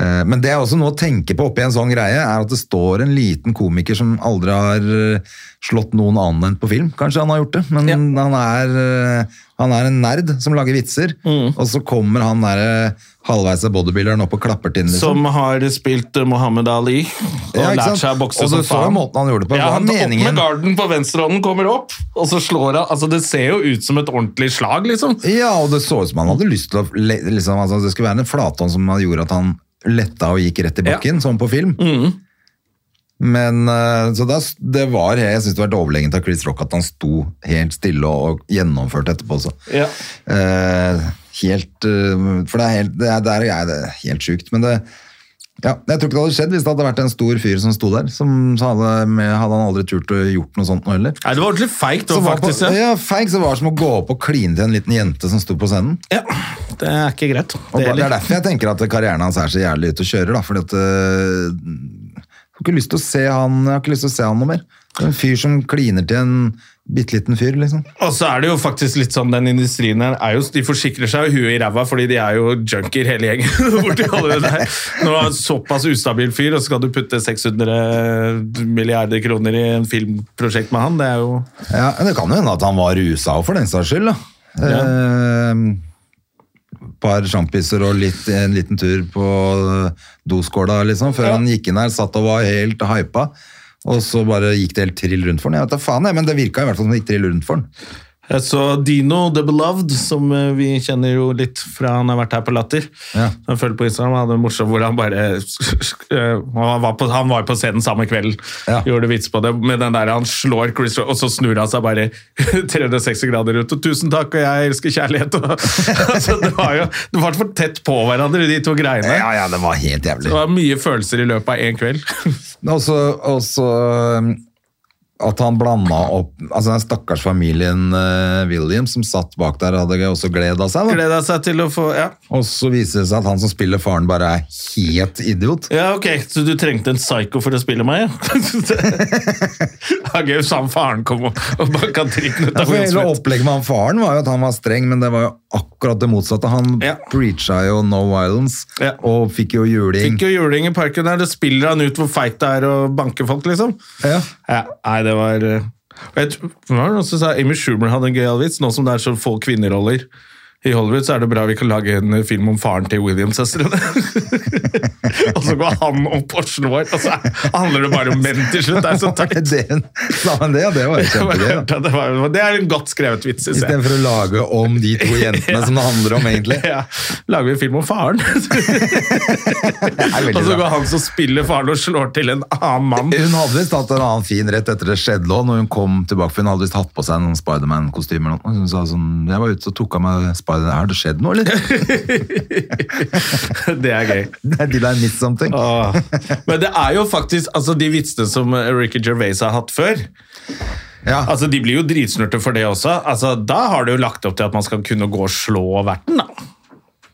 Speaker 2: eh, men det er også noe å tenke på oppi en sånn greie, er at det står en liten komiker som aldri har eh, slått noen annen enn på film. Kanskje han har gjort det, men
Speaker 1: Ja.
Speaker 2: han, er, eh, han er en nerd som lager vitser.
Speaker 1: Mm.
Speaker 2: Og så kommer han der eh, halvveis av bodybuilderen opp og klapper til den. Liksom.
Speaker 1: Som har spilt eh, Muhammad Ali og
Speaker 2: Ja, ikke
Speaker 1: lært
Speaker 2: sant?
Speaker 1: seg å bokse
Speaker 2: Og du
Speaker 1: som
Speaker 2: så jo
Speaker 1: faen.
Speaker 2: måten han gjorde det på. Hva
Speaker 1: Ja,
Speaker 2: er
Speaker 1: han tar opp
Speaker 2: meningen?
Speaker 1: med garden på venstrehånden, kommer opp, og så slår han. Altså, det ser jo ut som et ordentlig slag, liksom.
Speaker 2: Ja, og det så ut som han hadde lyst til å le- liksom, altså, Det skulle være en flathånd som gjorde at han letta og gikk rett i bakken, som på film.
Speaker 1: Mhm.
Speaker 2: Men eh, så da, det var, Jeg syns det var overlegent av Chris Rock at han sto helt stille og, og gjennomførte etterpå også.
Speaker 1: Ja.
Speaker 2: Eh, helt eh, For det er helt, det er, der er det helt sjukt. Men det ja, jeg tror ikke det hadde skjedd hvis det hadde vært en stor fyr som sto der. Som, så hadde, med, hadde han aldri turt å gjort noe sånt nå heller.
Speaker 1: Nei, det var ordentlig feigt,
Speaker 2: Så
Speaker 1: da,
Speaker 2: var
Speaker 1: faktisk.
Speaker 2: på,
Speaker 1: ja.
Speaker 2: ja, feig, så var det som å gå opp og kline til en liten jente som sto på scenen.
Speaker 1: Ja, det er ikke greit.
Speaker 2: Og
Speaker 1: Det
Speaker 2: det,
Speaker 1: heller.
Speaker 2: er derfor jeg tenker at karrieren hans er så jævlig ute å kjøre, da, fordi at øh, jeg har ikke lyst til å se han, jeg har ikke lyst til å se han noe mer. Det er En fyr som kliner til en bitte liten fyr, liksom.
Speaker 1: Og så er det jo faktisk litt sånn, den industrien her, er jo, de forsikrer seg jo huet i ræva, fordi de er jo junkier hele gjengen. borti alle det der. Når du har en såpass ustabil fyr, og så skal du putte 600 milliarder kroner i en filmprosjekt med han, det er jo...
Speaker 2: Ja, men Det kan jo hende at han var rusa òg, for den saks skyld. da.
Speaker 1: Ja.
Speaker 2: Eh, par sjampiser og litt, en liten tur på doskåla, liksom, før han gikk inn her, satt og var helt hypa. Og så bare gikk det helt trill rundt for han. Jeg vet da faen, jeg, men det virka i hvert fall som det gikk trill rundt for han.
Speaker 1: Jeg Eh, så Dino The Beloved, som eh, vi kjenner jo litt fra han har vært her på Latter.
Speaker 2: Ja.
Speaker 1: Han følger på Instagram, han hadde en morsom hvor han bare eh, Han var på, han var på scenen samme kvelden,
Speaker 2: Ja.
Speaker 1: gjorde vits på det. Med den der han slår Chris Rock, og så snur han seg bare 360 grader rundt. Og 'tusen takk, og jeg elsker kjærlighet'. Og, altså, det var jo det var for tett på hverandre, de to greiene.
Speaker 2: Ja, ja, det var helt jævlig.
Speaker 1: Det var mye følelser i løpet av én kveld.
Speaker 2: Og så, og så um, at han blanda opp altså den stakkars familien eh, Williams som satt bak der, hadde også gleda seg. Da.
Speaker 1: Gleda seg til å få ja.
Speaker 2: Og så viser det seg at han som spiller faren, bare er helt idiot.
Speaker 1: ja, ok, så du trengte en psycho for å spille meg, ja? det er gøy hvis han faren kom og, og banka dritten
Speaker 2: Ja,
Speaker 1: ut av
Speaker 2: for
Speaker 1: Will
Speaker 2: hele
Speaker 1: Smith.
Speaker 2: opplegget med han faren var jo at han var streng, men det var jo akkurat det motsatte. Han
Speaker 1: Ja.
Speaker 2: preacha jo no violence,
Speaker 1: Ja.
Speaker 2: og fikk jo juling.
Speaker 1: Fikk jo juling i parken der, det spiller han ut hvor feit det er å banke folk, liksom.
Speaker 2: Ja.
Speaker 1: Ja, nei, det var eh, og jeg, tror- hva var det noen som sa Amy Schumer hadde en gøyal vits. Nå som det er så få kvinneroller i Hollywood, så er det bra vi kan lage en eh, film om faren til Williams-søstrene. og så går han opp og slår, og så er- handler det bare om menn til slutt. Det er så teit.
Speaker 2: det, Nei, men det, det var jo
Speaker 1: Det
Speaker 2: kjempegøy. da.
Speaker 1: var- det er en godt skrevet vits, synes jeg.
Speaker 2: Istedenfor å lage om de to jentene som det handler om, egentlig.
Speaker 1: Ja, Lager vi en film om faren?
Speaker 2: Det er
Speaker 1: og
Speaker 2: veldig
Speaker 1: så
Speaker 2: bra.
Speaker 1: går han som spiller faren og slår til en annen mann.
Speaker 2: Hun hadde visst hatt en annen fin rett etter det skjedde òg, når hun kom tilbake. For hun hadde visst hatt på seg noen Spiderman-kostymer. og Hun sa sånn Jeg var ute og tok av meg Spiderman. Har det skjedd noe, eller?
Speaker 1: Det er gøy.
Speaker 2: Did I miss something?
Speaker 1: Åh. Men det er jo faktisk altså de vitsene som eh, Ricky Gervais har hatt før.
Speaker 2: Ja.
Speaker 1: Altså De blir jo dritsnurte for det også. Altså Da har det jo lagt opp til at man skal kunne gå og slå verten. da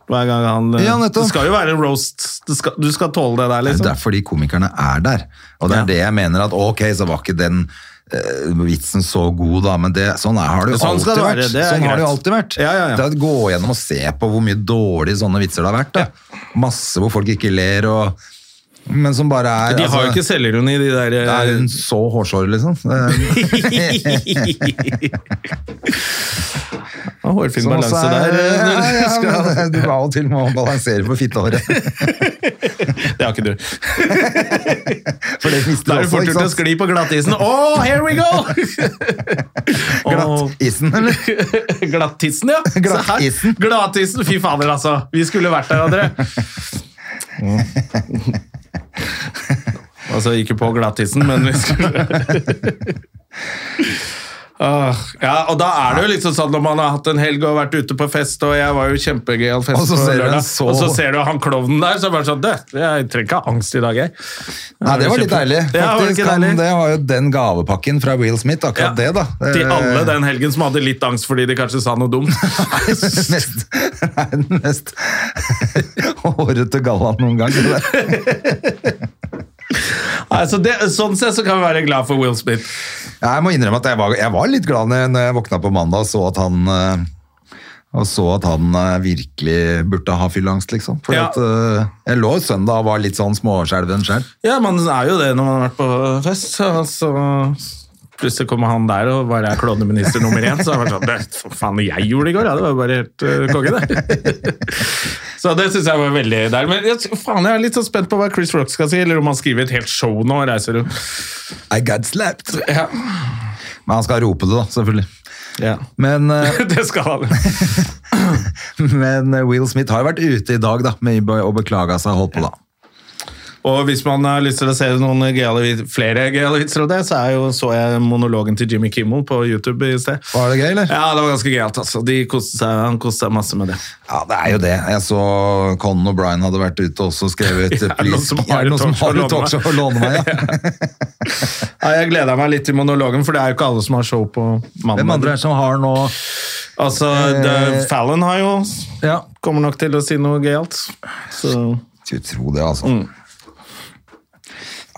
Speaker 1: hver gang han, eh,
Speaker 2: Ja, nettopp.
Speaker 1: Det skal jo være en roast. Du skal, du skal tåle det der,
Speaker 2: Det er
Speaker 1: liksom.
Speaker 2: derfor de komikerne er der. Og det er
Speaker 1: Ja.
Speaker 2: det jeg mener at ok, så var ikke den eh, vitsen så god, da, men det, sånn er, har det jo
Speaker 1: Sånn skal
Speaker 2: alltid
Speaker 1: det være,
Speaker 2: vært.
Speaker 1: det er
Speaker 2: sånn har det jo
Speaker 1: greit.
Speaker 2: alltid vært.
Speaker 1: Ja, ja, ja.
Speaker 2: Det er å gå gjennom og se på hvor mye dårlige sånne vitser det har vært. Da. Masse hvor folk ikke ler, og, men som bare er
Speaker 1: De har jo
Speaker 2: altså,
Speaker 1: ikke selvironi, de der
Speaker 2: Det
Speaker 1: eh,
Speaker 2: er en så hårsår, liksom. Det er-
Speaker 1: Ja, Hårfin
Speaker 2: som Sånn også
Speaker 1: balanse
Speaker 2: er-
Speaker 1: der. eh,
Speaker 2: Ja,
Speaker 1: når du
Speaker 2: ja,
Speaker 1: skal-
Speaker 2: men Du av og til må balansere på fittehåret.
Speaker 1: Det har ikke du.
Speaker 2: For det mister du
Speaker 1: Da er det
Speaker 2: også,
Speaker 1: fort gjort
Speaker 2: ikke
Speaker 1: å
Speaker 2: sant?
Speaker 1: skli på glattisen. Oh, here we go! Åh.
Speaker 2: Glattisen, eller?
Speaker 1: Glattisen, ja. Se her.
Speaker 2: Glattisen.
Speaker 1: Glattisen. Fy fader, altså. Vi skulle vært der, dere.
Speaker 2: Mm.
Speaker 1: altså, ikke på glattisen, men vi skulle Ah, ja, og da er det jo liksom sånn når man har hatt en helg og vært ute på fest, og jeg var jo kjempegøyal fest
Speaker 2: Og så
Speaker 1: på
Speaker 2: ser du en
Speaker 1: lørdag,
Speaker 2: så-
Speaker 1: og så ser du han klovnen der, så er det bare sånn «Dø, Jeg trenger ikke ha angst i dag, jeg.
Speaker 2: Nei, det var litt deilig.
Speaker 1: Ja, var det
Speaker 2: Faktisk,
Speaker 1: ikke
Speaker 2: han,
Speaker 1: deilig?
Speaker 2: det var jo den gavepakken fra Will Smith, akkurat det, da.
Speaker 1: Til alle
Speaker 2: Eh,
Speaker 1: den helgen som hadde litt angst fordi de kanskje sa noe dumt.
Speaker 2: mest, det er den mest hårete gallaen noen gang. det der.
Speaker 1: Nei, så det, sånn sett så kan vi være glad for Will Smith.
Speaker 2: Jeg må innrømme at jeg var, jeg var litt glad når jeg- når jeg våkna på mandag og så at han eh, og så at han eh, virkelig burde ha fylleangst, liksom. For
Speaker 1: Ja.
Speaker 2: at, eh, jeg lå søndag og var litt sånn småskjelven sjøl.
Speaker 1: Ja, man er jo det når man har vært på fest. Og så plutselig kommer han der og bare er klovneminister nummer én. Så har jeg vært sånn «Det, Hva faen jeg gjorde i går? Ja, det var jo bare helt eh, konge, det. så det syns jeg var veldig deilig. Men jeg, faen, jeg er litt så spent på hva Chris Rock skal si, eller om han skriver et helt show nå og reiser rundt.
Speaker 2: I got slapped!
Speaker 1: Ja.
Speaker 2: Men han skal rope det, da, selvfølgelig.
Speaker 1: Ja.
Speaker 2: Men, eh,
Speaker 1: Det skal han.
Speaker 2: men eh, Will Smith har jo vært ute i dag da, med å beklage seg og holdt på, da.
Speaker 1: Og hvis man har lyst til å se noen gøyale vit- flere gøyale vitser om det, så er jo, så jeg monologen til Jimmy Kimmel på YouTube i sted.
Speaker 2: Var det gøy, eller?
Speaker 1: Ja, det var ganske gøyalt, altså. De koste seg, han koste seg masse med det.
Speaker 2: Ja, det er jo det. Jeg så Conan O'Brien hadde vært ute og også skrevet
Speaker 1: Er det noen
Speaker 2: «Please,
Speaker 1: som har
Speaker 2: er det noen som
Speaker 1: et
Speaker 2: har et
Speaker 1: talkshow
Speaker 2: talkshow å låne meg? Ja.
Speaker 1: Ja, jeg gleda meg litt til monologen, for det er jo ikke alle som har show på mandag.
Speaker 2: Hvem andre er Eh, det som har nå
Speaker 1: Altså, det, Fallon har jo
Speaker 2: Ja,
Speaker 1: Kommer nok til å si noe gøyalt. Så,
Speaker 2: skulle tro det, altså.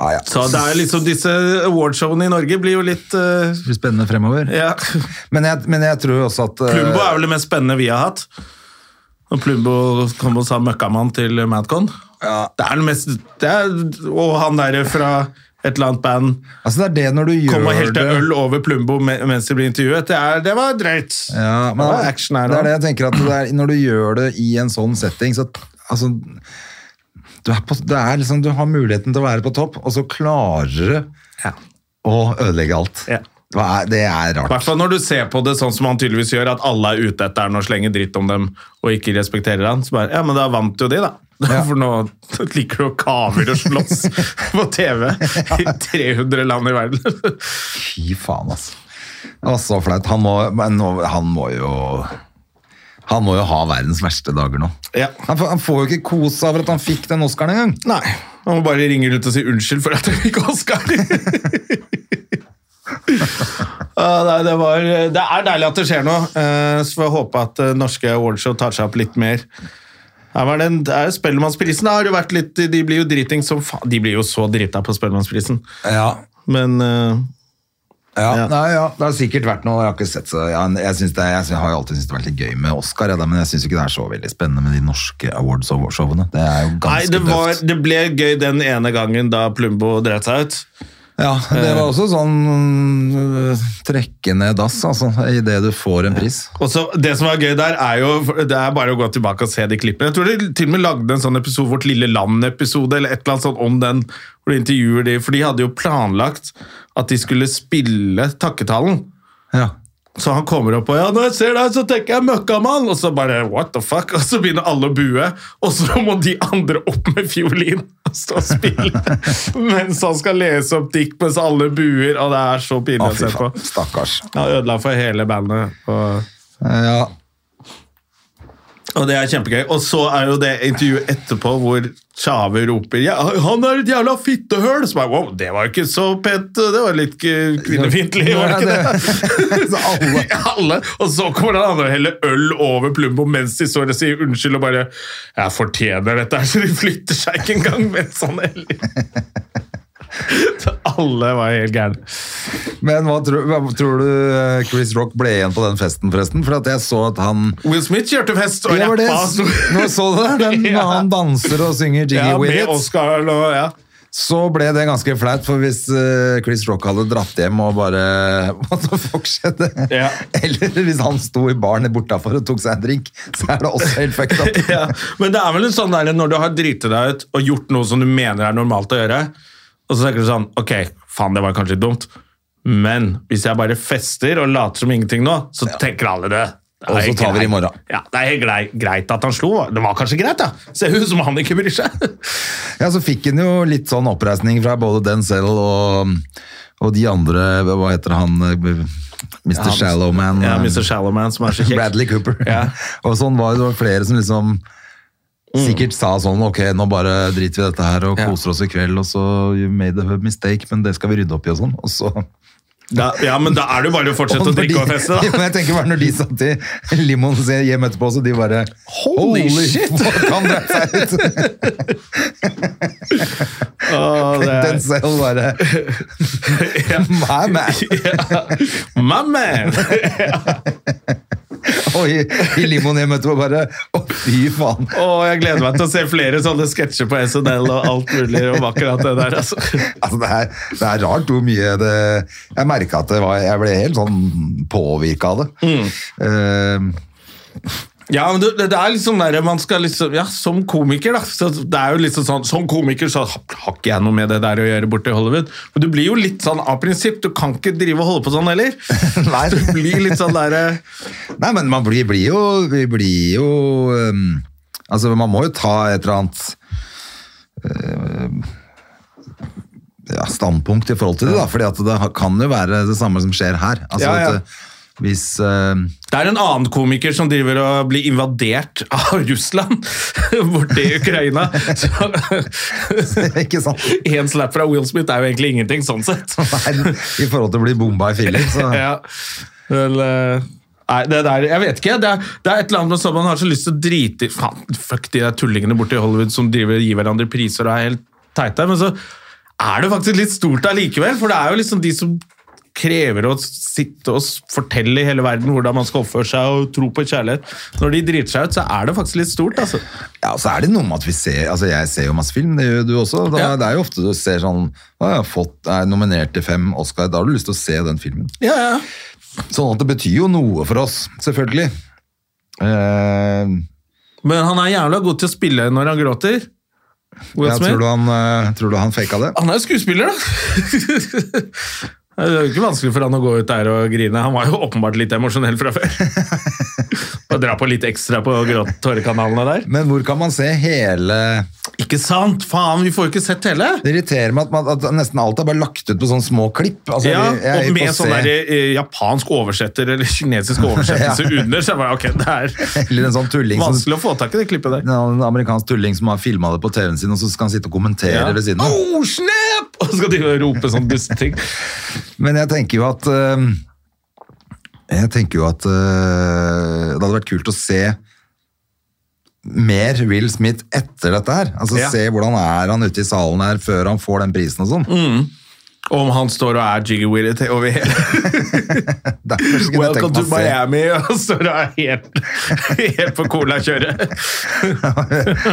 Speaker 2: Ja, ja.
Speaker 1: Mm. så det er liksom disse awardshowene i Norge blir jo litt eh,
Speaker 2: Det blir spennende fremover.
Speaker 1: Ja.
Speaker 2: Men jeg, men jeg tror jo også at eh,
Speaker 1: Plumbo er vel det mest spennende vi har hatt. Når Plumbo kom og sa 'møkkamann' til Madcon.
Speaker 2: Ja.
Speaker 1: Det er det mest det er, Og han derre fra et eller annet band
Speaker 2: Altså, det er det når du gjør
Speaker 1: kom og helte
Speaker 2: det-
Speaker 1: øl over Plumbo me- mens de ble intervjuet. Det, er, det var drøyt.
Speaker 2: Ja, men
Speaker 1: det var action her
Speaker 2: det er det
Speaker 1: da.
Speaker 2: jeg tenker at det er, når du gjør det i en sånn setting, så altså, du, er på, det er liksom, du har muligheten til å være på topp, og så klarer du
Speaker 1: Ja.
Speaker 2: å ødelegge alt.
Speaker 1: Ja.
Speaker 2: Det er, det er
Speaker 1: I hvert
Speaker 2: rart.
Speaker 1: fall når du ser på det sånn som han tydeligvis gjør, at alle er ute etter han og slenger dritt om dem og ikke respekterer han. Så bare, ja, men da vant jo de, da.
Speaker 2: Ja.
Speaker 1: For nå liker du å kaver og slåss på TV i 300 land i verden.
Speaker 2: Fy faen, altså. Det var så flaut. Han må, men nå- han må jo han må jo ha verdens verste dager nå.
Speaker 1: Ja.
Speaker 2: Han, får, han får jo ikke kos over at han fikk den Oscaren engang.
Speaker 1: Nei. Han må bare ringe rundt og si unnskyld for at jeg fikk Oscar. Ja, Ah, nei, det, var, det er deilig at det skjer noe, eh, så får jeg håpe at eh, norske awardshow tar seg opp litt mer. Her var den, det er jo Spellemannsprisen har jo vært litt De blir jo driting som faen. De blir jo så drita på Spellemannsprisen,
Speaker 2: Ja.
Speaker 1: men eh,
Speaker 2: Ja,
Speaker 1: Ja.
Speaker 2: Nei, ja, det har sikkert vært noe, jeg har ikke sett så Jeg, jeg, synes det, jeg, synes, jeg har jo alltid syntes det har vært litt gøy med Oscar, jeg, da, men jeg syns ikke det er så veldig spennende med de norske awards-showene. Det er jo
Speaker 1: Nei,
Speaker 2: ganske
Speaker 1: det, var,
Speaker 2: døvt.
Speaker 1: det ble gøy den ene gangen da Plumbo dreit seg ut.
Speaker 2: Ja, det var også sånn øh, trekke ned dass, altså, idet du får en pris.
Speaker 1: Og så, Det som var gøy der, er jo det er bare å gå tilbake og se de klippene. Jeg tror de til og med lagde en sånn episode, Vårt lille land-episode, eller et eller annet sånt om den. Hvor de intervjuer de, For de hadde jo planlagt at de skulle spille takketalen.
Speaker 2: Ja.
Speaker 1: Så han kommer opp og ja, når jeg ser deg, så tenker jeg møkkamann. Og så bare what the fuck? Og så begynner alle å bue, og så må de andre opp med fiolin og stå og spille mens han skal lese opp dikt mens alle buer, og det er så pinlig
Speaker 2: Å,
Speaker 1: å
Speaker 2: fy
Speaker 1: se på.
Speaker 2: faen. Stakkars.
Speaker 1: Han ødela for hele bandet. Og
Speaker 2: Ja.
Speaker 1: Og det er kjempegøy. Og så er jo det intervjuet etterpå hvor Tjave roper ja, 'Han er et jævla fittehøl!' Så bare, wow, det var jo ikke så pent. Det var litt eh, kvinnefiendtlig, var det
Speaker 2: Ja,
Speaker 1: ikke det?
Speaker 2: Så alle-
Speaker 1: Ja, alle. Og så kommer den andre og heller øl over Plumbo mens de står og sier unnskyld og bare 'Jeg fortjener dette', her», så de flytter seg ikke engang mens han heller. Så alle var helt gærne.
Speaker 2: Men hva tror, hva tror du eh, Chris Rock ble igjen på den festen, forresten? For at jeg så at han
Speaker 1: Will Smith kjørte fest og
Speaker 2: Ja, var det,
Speaker 1: rappa. så-
Speaker 2: nå så du det? Den, når
Speaker 1: Ja.
Speaker 2: han danser og synger Jiggy
Speaker 1: Ja,
Speaker 2: With
Speaker 1: med
Speaker 2: It.
Speaker 1: Oscar og ja.
Speaker 2: Så ble det ganske flaut, for hvis eh, Chris Rock hadde dratt hjem og bare What the fuck skjedde?
Speaker 1: Ja.
Speaker 2: Eller hvis han sto i baren bortafor og tok seg en drink, så er det også helt fucked up.
Speaker 1: ja. Men det er vel en sånn der når du har driti deg ut og gjort noe som du mener er normalt å gjøre, og så tenker du sånn Ok, faen, det var kanskje dumt, men hvis jeg bare fester og later som ingenting nå, så tenker alle det. Det
Speaker 2: Og
Speaker 1: er
Speaker 2: så
Speaker 1: helt
Speaker 2: tar vi det i
Speaker 1: greit.
Speaker 2: morgen.
Speaker 1: Ja, det er helt grei- greit at han slo. Det var kanskje greit, da. Ser ut som han ikke bryr seg.
Speaker 2: Ja, så fikk han jo litt sånn oppreisning fra både Denzel og, og de andre Hva heter han? eh, Mr.
Speaker 1: Ja,
Speaker 2: Shallowman.
Speaker 1: Ja,
Speaker 2: eh,
Speaker 1: Mr. Shallowman, som er så kjekk.
Speaker 2: Bradley Cooper.
Speaker 1: Ja. Mm.
Speaker 2: og sånn var det, det var flere som liksom sikkert sa sånn, ok, nå bare driter vi i dette her og
Speaker 1: Ja.
Speaker 2: koser oss i kveld, og så you made a mistake, men det skal vi rydde opp i og sånn. Og så...
Speaker 1: Da, ja, men da er det jo bare å fortsette å
Speaker 2: når de-
Speaker 1: drikke og feste,
Speaker 2: Ja,
Speaker 1: da.
Speaker 2: men jeg tenker bare når de satt i limoen sin hjem etterpå, så de bare
Speaker 1: Holy shit!»
Speaker 2: fuck, han dreit seg ut.
Speaker 1: Å, det er-
Speaker 2: Den selv bare
Speaker 1: Ja.
Speaker 2: My man.
Speaker 1: Ja. My man!
Speaker 2: Og i, i limoen hjem etterpå bare Å, fy faen.
Speaker 1: Og jeg gleder meg til å se flere sånne sketsjer på SNL og alt mulig om akkurat det der. Altså.
Speaker 2: Altså, det, er, det er rart hvor mye det Jeg merka at det var, jeg ble helt sånn påvirka av det.
Speaker 1: Mm.
Speaker 2: Eh,
Speaker 1: Ja, men det, det er liksom der man skal liksom Ja, som komiker, da. Så det er jo liksom sånn, som komiker så har ikke jeg noe med det der å gjøre borte i Hollywood. Men du blir jo litt sånn av prinsipp. Du kan ikke drive og holde på sånn heller.
Speaker 2: Nei.
Speaker 1: Du blir litt sånn derre
Speaker 2: nei, men man blir, blir jo Vi blir jo eh, Altså, man må jo ta et eller annet eh, ja, standpunkt i forhold til det, da. Fordi at det ha- kan jo være det samme som skjer her. Altså,
Speaker 1: Ja, ja.
Speaker 2: At, eh, hvis eh,
Speaker 1: Det er en annen komiker som driver og blir invadert av Russland borti Ukraina. Så
Speaker 2: Ikke sant?
Speaker 1: én slap fra Will Smith er jo egentlig ingenting, sånn sett.
Speaker 2: Nei, I forhold til å bli bomba i filler, så
Speaker 1: ja. Vel, eh, Nei, det der, jeg vet ikke. Det er, det er et eller annet med sånn man har så lyst til å drite i Faen, fuck de der tullingene borte i Hollywood som driver og gir hverandre priser og er helt teite. Men så er det faktisk litt stort allikevel, for det er jo liksom de som krever å sitte og s- fortelle i hele verden hvordan man skal oppføre seg og tro på kjærlighet. Når de driter seg ut, så er det faktisk litt stort, altså.
Speaker 2: Ja, så er det noe med at vi ser Altså, jeg ser jo masse film, det gjør jo du også. Da,
Speaker 1: Ja.
Speaker 2: Det er jo ofte du ser sånn Å, jeg har fått, er nominert til fem Oscar, da har du lyst til å se den filmen.
Speaker 1: Ja, ja.
Speaker 2: Sånn at det betyr jo noe for oss, selvfølgelig. Eh,
Speaker 1: Men han er jævla god til å spille når han gråter. Will
Speaker 2: ja,
Speaker 1: Smith.
Speaker 2: tror, du han, eh, tror du han faka det?
Speaker 1: Han er jo skuespiller, da! Det er jo ikke vanskelig for han å gå ut der og grine. Han var jo åpenbart litt emosjonell fra før. Og dra på litt ekstra på gråt- tårekanalene der.
Speaker 2: Men hvor kan man se hele
Speaker 1: Ikke sant? Faen, vi får jo ikke sett hele!
Speaker 2: Det irriterer meg at, man, at nesten alt er bare lagt ut på sånne små klipp. Altså,
Speaker 1: Ja,
Speaker 2: vi- jeg er
Speaker 1: og
Speaker 2: på
Speaker 1: med
Speaker 2: å
Speaker 1: sånn
Speaker 2: se-
Speaker 1: der eh, japansk oversetter eller kinesisk oversettelse
Speaker 2: Ja.
Speaker 1: under, så jeg bare ok, det
Speaker 2: Eller en sånn tulling
Speaker 1: er
Speaker 2: som
Speaker 1: vanskelig å få tak i det klippet der.
Speaker 2: en amerikansk tulling som har filma det på TV-en sin, og så skal han sitte og kommentere
Speaker 1: Ja.
Speaker 2: ved siden av.
Speaker 1: Oh, snap! Hjelp! Og så skal de rope sånn dusteting.
Speaker 2: Men jeg tenker jo at øhm, Jeg tenker jo at øh, det hadde vært kult å se mer Will Smith etter dette her. Altså
Speaker 1: Ja.
Speaker 2: Se hvordan er han ute i salen her før han får den prisen og sånn.
Speaker 1: Mm. Og om han står og er jiggy with it over hele
Speaker 2: Derfor skulle jeg
Speaker 1: Welcome
Speaker 2: tenkt
Speaker 1: to
Speaker 2: meg å se.
Speaker 1: Miami, og står og er helt, helt på cola-kjøret.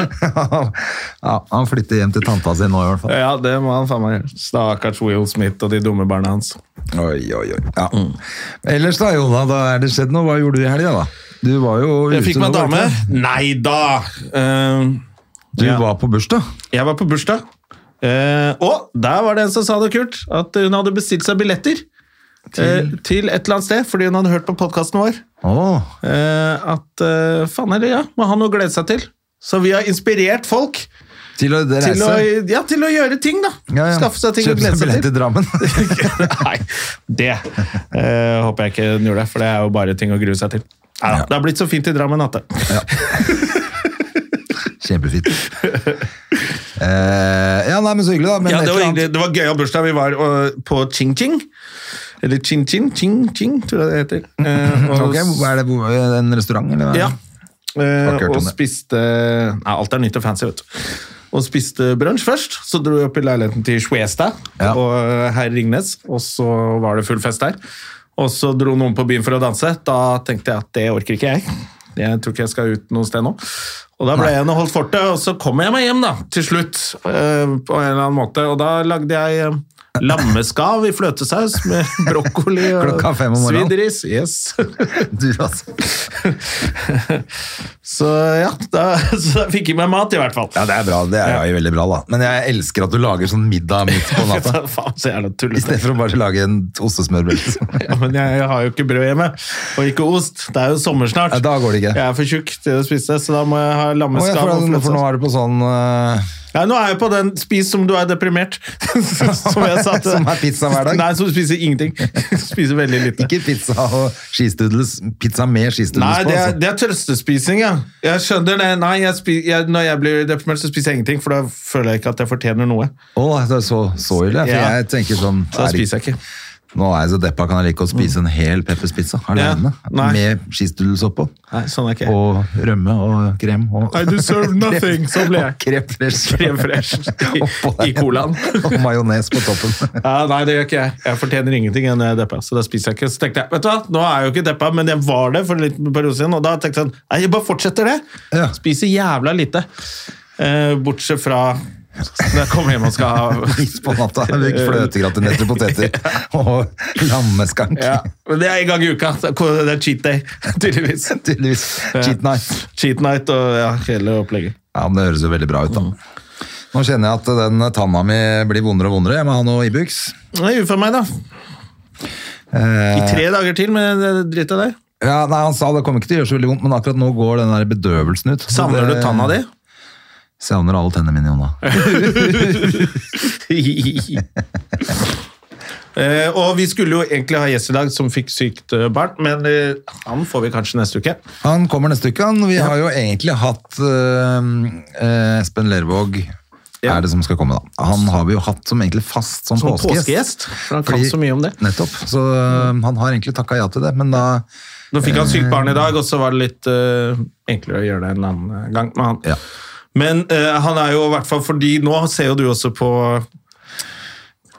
Speaker 2: ja, han flytter hjem til tanta si nå i hvert fall.
Speaker 1: Ja, det må han faen meg gjøre. Stakkars Will Smith og de dumme barna hans.
Speaker 2: Oi, oi, oi. Ja.
Speaker 1: Mm.
Speaker 2: Ellers da, Jona, da er det skjedd noe. Hva gjorde du i helga, da? Du var jo ute.
Speaker 1: Jeg fikk meg
Speaker 2: nå, var
Speaker 1: dame.
Speaker 2: du ikke?
Speaker 1: Nei da! Eh,
Speaker 2: Du
Speaker 1: Ja.
Speaker 2: var på bursdag.
Speaker 1: Jeg var på bursdag, eh, og der var det en som sa det kult, at hun hadde bestilt seg billetter eh, til et eller annet sted, fordi hun hadde hørt på podkasten vår
Speaker 2: Åh,
Speaker 1: eh, at eh, faen er det, ja, må ha noe å glede seg til. Så vi har inspirert folk
Speaker 2: til å reise.
Speaker 1: til å, ja, til å gjøre ting, da.
Speaker 2: Ja, ja.
Speaker 1: Skaffe seg ting å
Speaker 2: Kjøpe
Speaker 1: glede
Speaker 2: seg
Speaker 1: seg
Speaker 2: billett
Speaker 1: til.
Speaker 2: til Drammen.
Speaker 1: Nei, det eh, håper jeg ikke hun gjorde, for det er jo bare ting å grue seg til. Neida, Det har blitt så fint i Drammen at det.
Speaker 2: Kjempefint. Eh, ja, nei, men så hyggelig, da. Men
Speaker 1: Ja,
Speaker 2: et
Speaker 1: det var,
Speaker 2: eller annet-
Speaker 1: hyggelig. det var gøy av bursdag. Vi var øh, på Ching Ching. Eller Chin Chin, Ching Ching, tror jeg det heter. Eh, og-
Speaker 2: Ok, hvor- er det hvor- en restaurant, eller? hva?
Speaker 1: Ja. Eh,
Speaker 2: Ikke hørt om
Speaker 1: og
Speaker 2: det.
Speaker 1: spiste Nei, alt er nytt og fancy, vet du. Og spiste brunsj først. Så dro vi opp i leiligheten til Schwestad
Speaker 2: Ja.
Speaker 1: og eh, herr Ringnes, og så var det full fest der. Og så dro noen på byen for å danse. Da tenkte jeg at det orker ikke jeg. Jeg tror ikke jeg skal ut noe sted nå. Og da ble jeg igjen og holdt fortet, og så kom jeg meg hjem da, til slutt. eh, på en eller annen måte. Og da lagde jeg eh, Lammeskav i fløtesaus med brokkoli og
Speaker 2: Klokka fem om morgenen.
Speaker 1: svidris. Yes.
Speaker 2: Du, altså.
Speaker 1: Så ja, da, så da fikk jeg meg mat i hvert fall.
Speaker 2: Ja, det er bra. Det er jo veldig bra, da. Men jeg elsker at du lager sånn middag midt på natta.
Speaker 1: Faen, så jævla
Speaker 2: I stedet
Speaker 1: tullete.
Speaker 2: for å bare lage en ostesmørbrød. liksom.
Speaker 1: Ja, men jeg, jeg har jo ikke brød hjemme, og ikke ost. Det er jo sommer snart.
Speaker 2: Ja, da går det ikke.
Speaker 1: Jeg er for tjukk til å spise, så da må jeg ha
Speaker 2: Å, jeg
Speaker 1: lammeskav.
Speaker 2: får
Speaker 1: og
Speaker 2: den- For
Speaker 1: fløtesaus.
Speaker 2: nå er du på sånn eh,
Speaker 1: Ja, nå er jeg på den spis som du er deprimert. som jeg sa til
Speaker 2: Som er pizza hver dag.
Speaker 1: Nei, som spiser ingenting. spiser veldig lite.
Speaker 2: Ikke pizza og skistoodles. Pizza med skistoodles
Speaker 1: Nei,
Speaker 2: på.
Speaker 1: det er,
Speaker 2: altså.
Speaker 1: det er trøstespising, ja. Jeg skjønner det. Nei, jeg spi, jeg, når jeg blir deprimert, så spiser jeg ingenting, for da føler jeg ikke at jeg fortjener noe.
Speaker 2: Å, det er så, så ille. For
Speaker 1: Ja.
Speaker 2: jeg tenker sånn
Speaker 1: Så da
Speaker 2: er det-
Speaker 1: spiser jeg ikke.
Speaker 2: Nå er jeg så deppa, kan jeg like å spise en hel pepperspizza alene.
Speaker 1: Nei.
Speaker 2: Med skistoodles oppå.
Speaker 1: Nei, sånn er ikke jeg.
Speaker 2: Og rømme og krem. Og
Speaker 1: I deserve nothing, så ble jeg.
Speaker 2: Krem fresh.
Speaker 1: Krem fresh i-
Speaker 2: Oppå der.
Speaker 1: i colaen.
Speaker 2: og majones på toppen.
Speaker 1: Ja, nei, det gjør ikke jeg. Jeg fortjener ingenting enn jeg er deppa. Så da spiser jeg ikke. Så tenkte jeg, vet du hva, nå er jeg jo ikke deppa, men jeg var det for en liten periode siden, og da tenkte jeg, sånn, nei, jeg bare fortsetter det.
Speaker 2: Ja.
Speaker 1: Spiser jævla lite. Eh, bortsett fra når jeg kommer hjem og skal ha
Speaker 2: Midt på natta. Bruk fløtegratinerte poteter og lammerskank.
Speaker 1: ja, men Det er en gang i uka. så Det er cheat day, tydeligvis.
Speaker 2: Tydeligvis. Cheat night.
Speaker 1: Cheat night og ja, hele opplegget.
Speaker 2: Ja, men Det høres jo veldig bra ut,
Speaker 1: Mm.
Speaker 2: da. Nå kjenner jeg at den tanna mi blir vondere og vondere. Jeg må ha noe Ibux.
Speaker 1: Nei, uff a meg, da. I
Speaker 2: Eh,
Speaker 1: tre dager til med det dritet der.
Speaker 2: ja, nei, han sa det kommer ikke til å gjøre så veldig vondt, men akkurat nå går den der bedøvelsen ut. Så
Speaker 1: Savner du
Speaker 2: det-
Speaker 1: tanna di?
Speaker 2: Savner alle tennene mine, Jonna.
Speaker 1: Eh, og vi skulle jo egentlig ha gjest i dag som fikk sykt eh, barn, men eh, han får vi kanskje neste uke.
Speaker 2: Han kommer neste uke. Han. Vi har jo egentlig hatt eh, eh, Espen Lervåg
Speaker 1: Ja.
Speaker 2: er det som skal komme, da. Han har vi jo hatt som egentlig fast som,
Speaker 1: Som
Speaker 2: påskegjest.
Speaker 1: påskegjest, for han kan så mye om det.
Speaker 2: Nettopp. Så eh, han har egentlig takka ja til det, men da
Speaker 1: Nå fikk han sykt barn i dag, og så var det litt eh, enklere å gjøre det en annen eh, gang med han.
Speaker 2: Ja.
Speaker 1: Men eh, han er jo i hvert fall fordi Nå ser jo du også på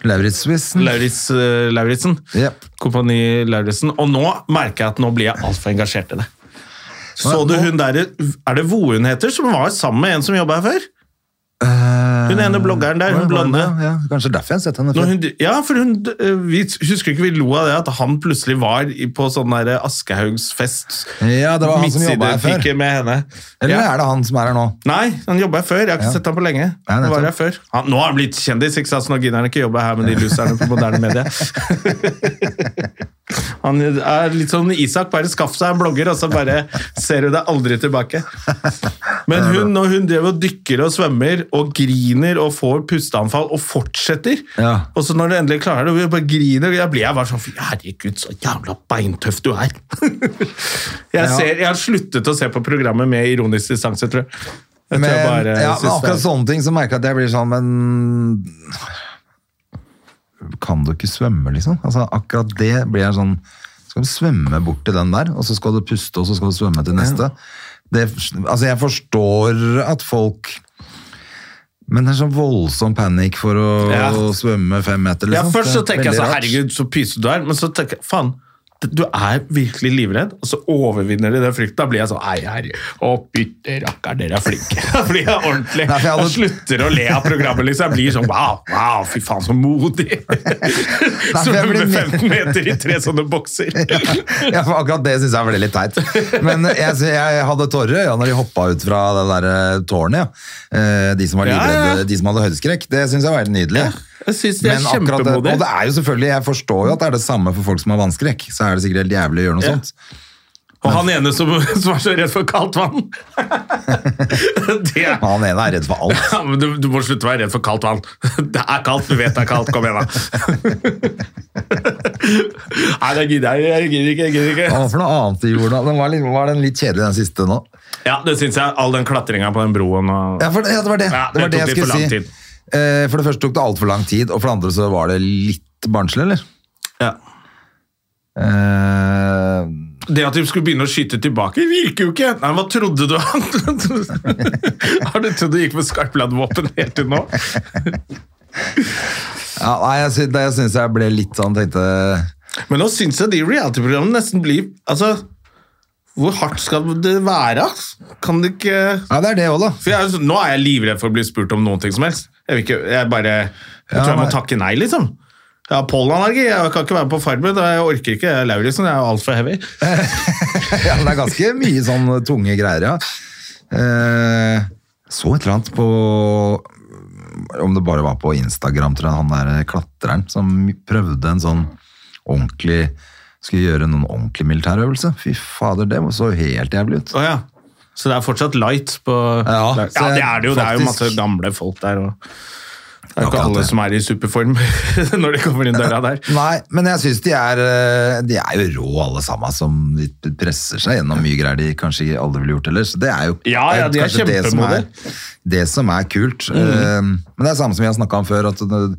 Speaker 2: Lauritz-quizen
Speaker 1: Lauritz, eh, Lauritzen.
Speaker 2: Ja.
Speaker 1: Kompani Lauritzen. Og nå merker jeg at nå blir jeg altfor engasjert i det. Så du hun der, Er det Vo hun heter, som var sammen med en som jobba her før?
Speaker 2: Eh,
Speaker 1: Hun ene bloggeren der, hun blonde.
Speaker 2: Ja, kanskje derfor jeg har sett henne
Speaker 1: Når
Speaker 2: før.
Speaker 1: hun, ja, for hun, eh, vi husker ikke vi lo av det at han plutselig var i- på sånn der Aschehougsfest.
Speaker 2: Ja, det var han som jobbet her før.
Speaker 1: Midtsidepike med henne.
Speaker 2: Eller
Speaker 1: eh, ja.
Speaker 2: er det han som er her nå?
Speaker 1: Nei, han jobba her før. Jeg har ikke sett ham på lenge.
Speaker 2: Nei,
Speaker 1: han var her
Speaker 2: nettopp.
Speaker 1: før. Han, nå har han blitt kjendis, ikke sant? så nå gidder han ikke jobbe her med de loserne på moderne media. han er litt sånn Isak, bare skaff seg en blogger, og så bare ser du deg aldri tilbake. Men hun, når hun driver og dykker og svømmer og griner og får pusteanfall og fortsetter
Speaker 2: Ja.
Speaker 1: Og så når du endelig klarer det, og vi bare griner Jeg blir jeg bare sånn "Fy, Herregud, så jævla beintøff du er. jeg,
Speaker 2: Ja.
Speaker 1: ser, jeg har sluttet å se på programmet med ironisk distanse, tror jeg. jeg, tror
Speaker 2: Men,
Speaker 1: jeg bare
Speaker 2: ja,
Speaker 1: synes
Speaker 2: men
Speaker 1: det er-
Speaker 2: akkurat sånne ting så merker jeg at jeg blir sånn, men Kan du ikke svømme, liksom? Altså, akkurat det blir jeg sånn Skal du svømme bort til den der, og så skal du puste, og så skal du svømme til neste? Det, altså, jeg forstår at folk Men det er sånn voldsom panikk for å
Speaker 1: Ja.
Speaker 2: svømme fem meter,
Speaker 1: Ja,
Speaker 2: liksom.
Speaker 1: først så tenker jeg
Speaker 2: Veldig
Speaker 1: så,
Speaker 2: rart.
Speaker 1: herregud, så pyset du er, men så tenker jeg, faen, du er virkelig livredd, og så overvinner du den frykten. Da blir jeg sånn, ei, herre, å bytte rakker, dere er flinke. Da blir jeg ordentlig.
Speaker 2: Nei, for jeg hadde-
Speaker 1: Jeg slutter å le av programmet, liksom. Jeg blir sånn, wow, wow, fy faen, så modig.
Speaker 2: for jeg blir
Speaker 1: Svømmer
Speaker 2: mer-
Speaker 1: 15 meter i tre sånne bokser.
Speaker 2: ja, for akkurat det syns jeg er veldig litt teit. Men jeg, jeg hadde tårer i øya når de hoppa ut fra det der eh, tårnet. Ja. Eh, De som var
Speaker 1: Ja, ja, ja.
Speaker 2: livredde, de som hadde høydeskrekk. Det syns jeg var helt nydelig.
Speaker 1: Jeg synes det er
Speaker 2: Men akkurat
Speaker 1: kjempemodig.
Speaker 2: Det, og det er jo selvfølgelig, jeg forstår jo at det er det samme for folk som har vannskrekk. Så er det sikkert helt jævlig å gjøre noe
Speaker 1: Ja.
Speaker 2: sånt.
Speaker 1: Og han ene som, som er så redd for kaldt vann. Det er...
Speaker 2: Men han ene er redd for alt.
Speaker 1: Ja, men du, du må slutte å være redd for kaldt vann. Det er kaldt, du vet det er kaldt. Kom igjen, da. Nei, det gidder jeg jeg gidder ikke. jeg gidder
Speaker 2: Hva
Speaker 1: ikke.
Speaker 2: var for noe annet i jorda? Den var, litt, var den litt kjedelig, den siste nå?
Speaker 1: Ja, Det syns jeg. All den klatringa på den broen og
Speaker 2: Ja, for, ja det var det.
Speaker 1: Ja,
Speaker 2: det, var det
Speaker 1: det tok
Speaker 2: jeg
Speaker 1: litt
Speaker 2: skulle
Speaker 1: for
Speaker 2: si.
Speaker 1: lang tid.
Speaker 2: Eh, For det første tok det altfor lang tid, og for det andre så var det litt barnslig, eller?
Speaker 1: ja.
Speaker 2: Eh,
Speaker 1: Det at de skulle begynne å skyte tilbake, virker jo ikke! Nei, Hva trodde du? Har du trodd du gikk med skarpladdvåpen helt til nå?
Speaker 2: Ja, nei, jeg sy- det syns jeg ble litt sånn tenkte
Speaker 1: Men nå syns jeg de reality-programmene nesten blir Altså, hvor hardt skal det være? ass? Kan det ikke
Speaker 2: Ja, det er det òg, da.
Speaker 1: For jeg, er jo sånn- nå er jeg livredd for å bli spurt om noen ting som helst. Jeg, vil ikke, jeg bare Jeg
Speaker 2: Ja,
Speaker 1: tror jeg må
Speaker 2: nei.
Speaker 1: takke nei, liksom. Jeg har pollenallergi, jeg kan ikke være på Farmen. og Jeg orker ikke, jeg er Lauritzen, jeg er altfor heavy.
Speaker 2: Ja, det er ganske mye sånn tunge greier, ja. Eh, så et eller annet på Om det bare var på Instagram, tror jeg, han der eh, klatreren som prøvde en sånn ordentlig Skulle gjøre noen ordentlig militærøvelse. Fy fader, det så helt jævlig ut.
Speaker 1: Å ja. Så det er fortsatt light på
Speaker 2: Ja,
Speaker 1: ja,
Speaker 2: så
Speaker 1: det er det jo. Det er
Speaker 2: faktisk-
Speaker 1: jo masse gamle folk der. Og det er jo
Speaker 2: Akkurat
Speaker 1: ikke alle
Speaker 2: det.
Speaker 1: som er i superform når de kommer inn døra der.
Speaker 2: Nei, men jeg syns de er eh, De er jo rå, alle sammen, som de presser seg gjennom mye greier de kanskje aldri ville gjort ellers. Det er jo
Speaker 1: Ja, ja, de er Mm.
Speaker 2: kanskje det som er,
Speaker 1: kjempemodige.
Speaker 2: det som er kult. Eh, Men det er samme som vi har snakka om før, at det-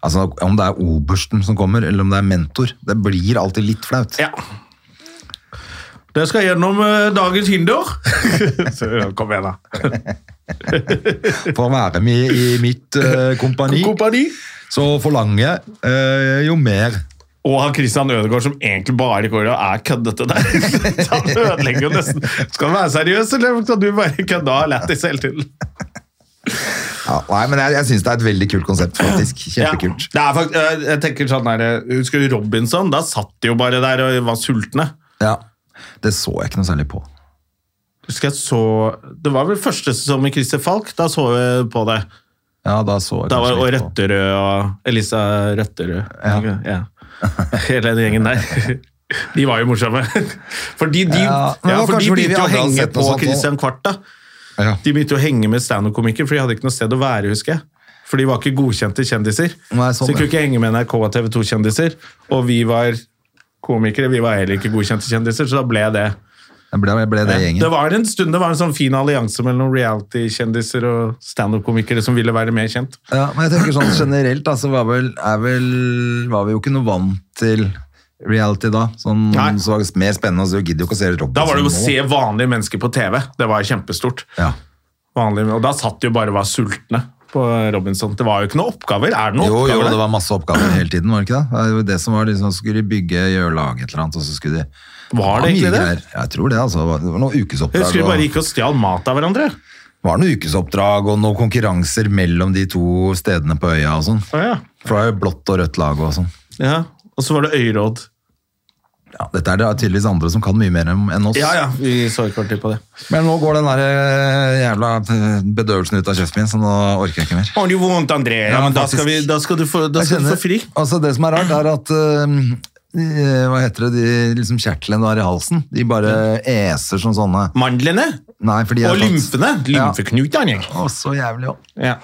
Speaker 2: altså, om det er obersten som kommer, eller om det er mentor, det blir alltid litt flaut.
Speaker 1: Ja. Dere skal gjennom eh, dagens hinder. Så kom igjen, da.
Speaker 2: For å være med i mitt eh, kompani,
Speaker 1: Kompani.
Speaker 2: så forlanger jeg eh, jo mer.
Speaker 1: Og han Christian Ødegaard som egentlig bare går og er køddete der. Han ødelegger jo nesten. Skal du være seriøs, eller skal du bare kødde og ha lættis hele tiden?
Speaker 2: Ja, nei, men jeg, jeg syns det er et veldig kult konsept, faktisk. Kjempekult.
Speaker 1: Ja, det er fakt jeg, jeg tenker sånn der, Husker du Robinson? Da satt de jo bare der og var sultne.
Speaker 2: Ja. Det så jeg ikke noe særlig på.
Speaker 1: Husker jeg så Det var vel første sesong med Christer Falk. Da så jeg på det.
Speaker 2: Ja, da så jeg
Speaker 1: Da var
Speaker 2: kanskje
Speaker 1: Og
Speaker 2: litt på.
Speaker 1: Røtterød og Elisa Røtterød. Ja. Hele den gjengen der. De var jo morsomme. Fordi de,
Speaker 2: Ja,
Speaker 1: ja,
Speaker 2: men det var
Speaker 1: for
Speaker 2: kanskje fordi
Speaker 1: de
Speaker 2: vi
Speaker 1: begynte jo å
Speaker 2: aldri hadde
Speaker 1: henge
Speaker 2: sett noe
Speaker 1: på
Speaker 2: sånt nå.
Speaker 1: Christian Kvart, da.
Speaker 2: Ja.
Speaker 1: De begynte jo å henge med standup-komikere, for de hadde ikke noe sted å være, husker jeg. For de var ikke godkjente kjendiser.
Speaker 2: Nei, sånn,
Speaker 1: så de
Speaker 2: ja.
Speaker 1: kunne ikke henge med NRK og TV 2-kjendiser. Og vi var komikere, vi var heller ikke godkjente kjendiser, så da ble det
Speaker 2: Jeg ble, jeg ble det gjengen.
Speaker 1: Det var en stund det var en sånn fin allianse mellom reality-kjendiser og standup-komikere som ville være mer kjent.
Speaker 2: Ja, men jeg tenker sånn generelt, da, så var, vel, er vel, var vi jo ikke noe vant til reality da. Sånn,
Speaker 1: Nei.
Speaker 2: så var det mer spennende, så gidder jo ikke å se Robinson
Speaker 1: Da var det jo å
Speaker 2: Altså, nå.
Speaker 1: se vanlige mennesker på TV. Det var kjempestort.
Speaker 2: Ja.
Speaker 1: Vanlige, og da satt de jo bare og var sultne på Robinson. Det var jo ikke noen oppgaver. Er det noen
Speaker 2: Jo, jo,
Speaker 1: oppgaver? der?
Speaker 2: det var masse oppgaver hele tiden, var det ikke det? Det var jo det som var liksom, skulle de bygge, gjøre lag et eller annet, og så skulle de...
Speaker 1: Var det
Speaker 2: mye
Speaker 1: egentlig det?
Speaker 2: greier. Ja, Jeg tror det, altså. Det var- Det var noen
Speaker 1: Jeg
Speaker 2: ukesoppdrag.
Speaker 1: husker de
Speaker 2: og-
Speaker 1: bare gikk og stjal mat av hverandre.
Speaker 2: var noen ukesoppdrag og noen konkurranser mellom de to stedene på øya og sånn.
Speaker 1: Ja, ja.
Speaker 2: For det var jo blått og rødt lag og sånn.
Speaker 1: ja. Og så var det øyråd.
Speaker 2: Ja, dette er det tydeligvis andre som kan mye mer om- enn oss.
Speaker 1: Ja, ja, vi så ikke ordentlig på det.
Speaker 2: Men nå går den der eh, jævla eh, bedøvelsen ut av kjeften min, så nå orker jeg ikke mer.
Speaker 1: Har du vondt, André? Ja,
Speaker 2: Ja,
Speaker 1: men da
Speaker 2: faktisk.
Speaker 1: skal, vi, da skal du få, da
Speaker 2: Jeg
Speaker 1: skal du
Speaker 2: kjenner-
Speaker 1: få fri.
Speaker 2: Altså, det som er rart, er at eh, eh, hva heter det, de liksom kjertlene du har i halsen, de bare eser som sånne.
Speaker 1: Mandlene
Speaker 2: Nei, for de er
Speaker 1: og
Speaker 2: tatt-
Speaker 1: lymfene. Lymfeknutene.
Speaker 2: Å, så jævlig også.
Speaker 1: Ja.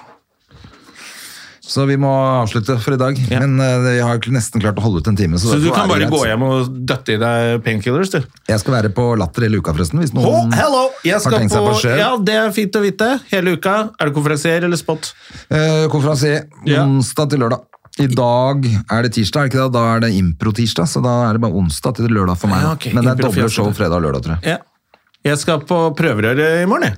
Speaker 2: Så vi må avslutte for i dag.
Speaker 1: Ja.
Speaker 2: Men eh, vi har jo nesten klart å holde ut en time. Så,
Speaker 1: Så du
Speaker 2: derfor
Speaker 1: kan
Speaker 2: er
Speaker 1: bare
Speaker 2: det
Speaker 1: gå
Speaker 2: greit.
Speaker 1: hjem og døtte i deg painkillers, du.
Speaker 2: Jeg skal være på Latter hele uka, forresten. Hvis
Speaker 1: Å,
Speaker 2: noen
Speaker 1: hello! Jeg
Speaker 2: har
Speaker 1: skal
Speaker 2: tenkt
Speaker 1: på,
Speaker 2: seg på sjøl.
Speaker 1: ja, Det er fint å vite. Hele uka. Er du konferansier eller spot?
Speaker 2: Eh, konferansier
Speaker 1: Ja.
Speaker 2: onsdag til lørdag. I dag er det tirsdag, er det ikke det? Da er det impro-tirsdag, så da er det bare onsdag til lørdag for meg.
Speaker 1: Ja,
Speaker 2: da.
Speaker 1: ok,
Speaker 2: Men det er doble
Speaker 1: impro-fjestet.
Speaker 2: show fredag og lørdag, tror jeg.
Speaker 1: Ja. Jeg skal på prøverøret i morgen, jeg.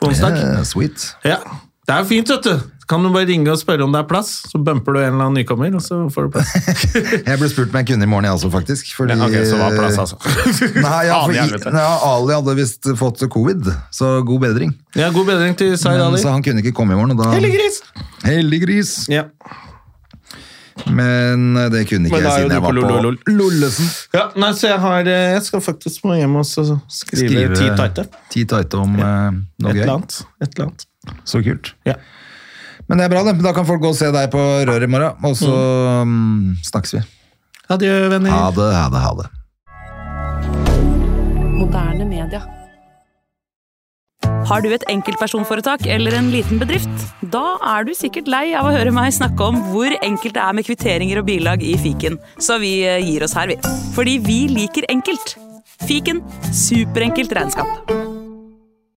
Speaker 1: På onsdag.
Speaker 2: Eh, sweet.
Speaker 1: Ja. Det er jo fint, vet du. Kan du bare ringe og spørre om det er plass, så bumper du en eller annen nykommer, og så får du plass.
Speaker 2: Jeg ble spurt om jeg kunne i morgen, jeg også, faktisk. Fordi,
Speaker 1: Ja, ok, så var det plass, altså.
Speaker 2: Nei, ja,
Speaker 1: Faen i
Speaker 2: for,
Speaker 1: helvete.
Speaker 2: ja, Ali hadde visst fått covid, så god bedring.
Speaker 1: Ja, god bedring til Zaid
Speaker 2: Men,
Speaker 1: Ali.
Speaker 2: så han kunne ikke komme i morgen, og da
Speaker 1: Hellig gris!
Speaker 2: Hellig gris!
Speaker 1: Ja.
Speaker 2: Men eh, det kunne ikke
Speaker 1: Men da
Speaker 2: jeg siden
Speaker 1: er jo du
Speaker 2: jeg
Speaker 1: på
Speaker 2: var på
Speaker 1: lol, lol, lol.
Speaker 2: Lollesen.
Speaker 1: ja, nei, så jeg har eh, Jeg skal faktisk må hjem og så skrive, ti tighte.
Speaker 2: Ti tighte om eh,
Speaker 1: Et
Speaker 2: noe
Speaker 1: eller
Speaker 2: gøy.
Speaker 1: annet. Et eller annet.
Speaker 2: Så kult.
Speaker 1: Ja.
Speaker 2: Men det er bra, det. Da kan folk gå og se deg på røret i morgen, og så mm, snakkes vi.
Speaker 1: Adjø, venner.
Speaker 2: Ha det, ha det, ha det.
Speaker 3: Moderne media.
Speaker 4: Har du et enkeltpersonforetak eller en liten bedrift? Da er du sikkert lei av å høre meg snakke om hvor enkelt det er med kvitteringer og bilag i fiken, så vi eh, gir oss her, vi. Fordi vi liker enkelt. Fiken superenkelt regnskap.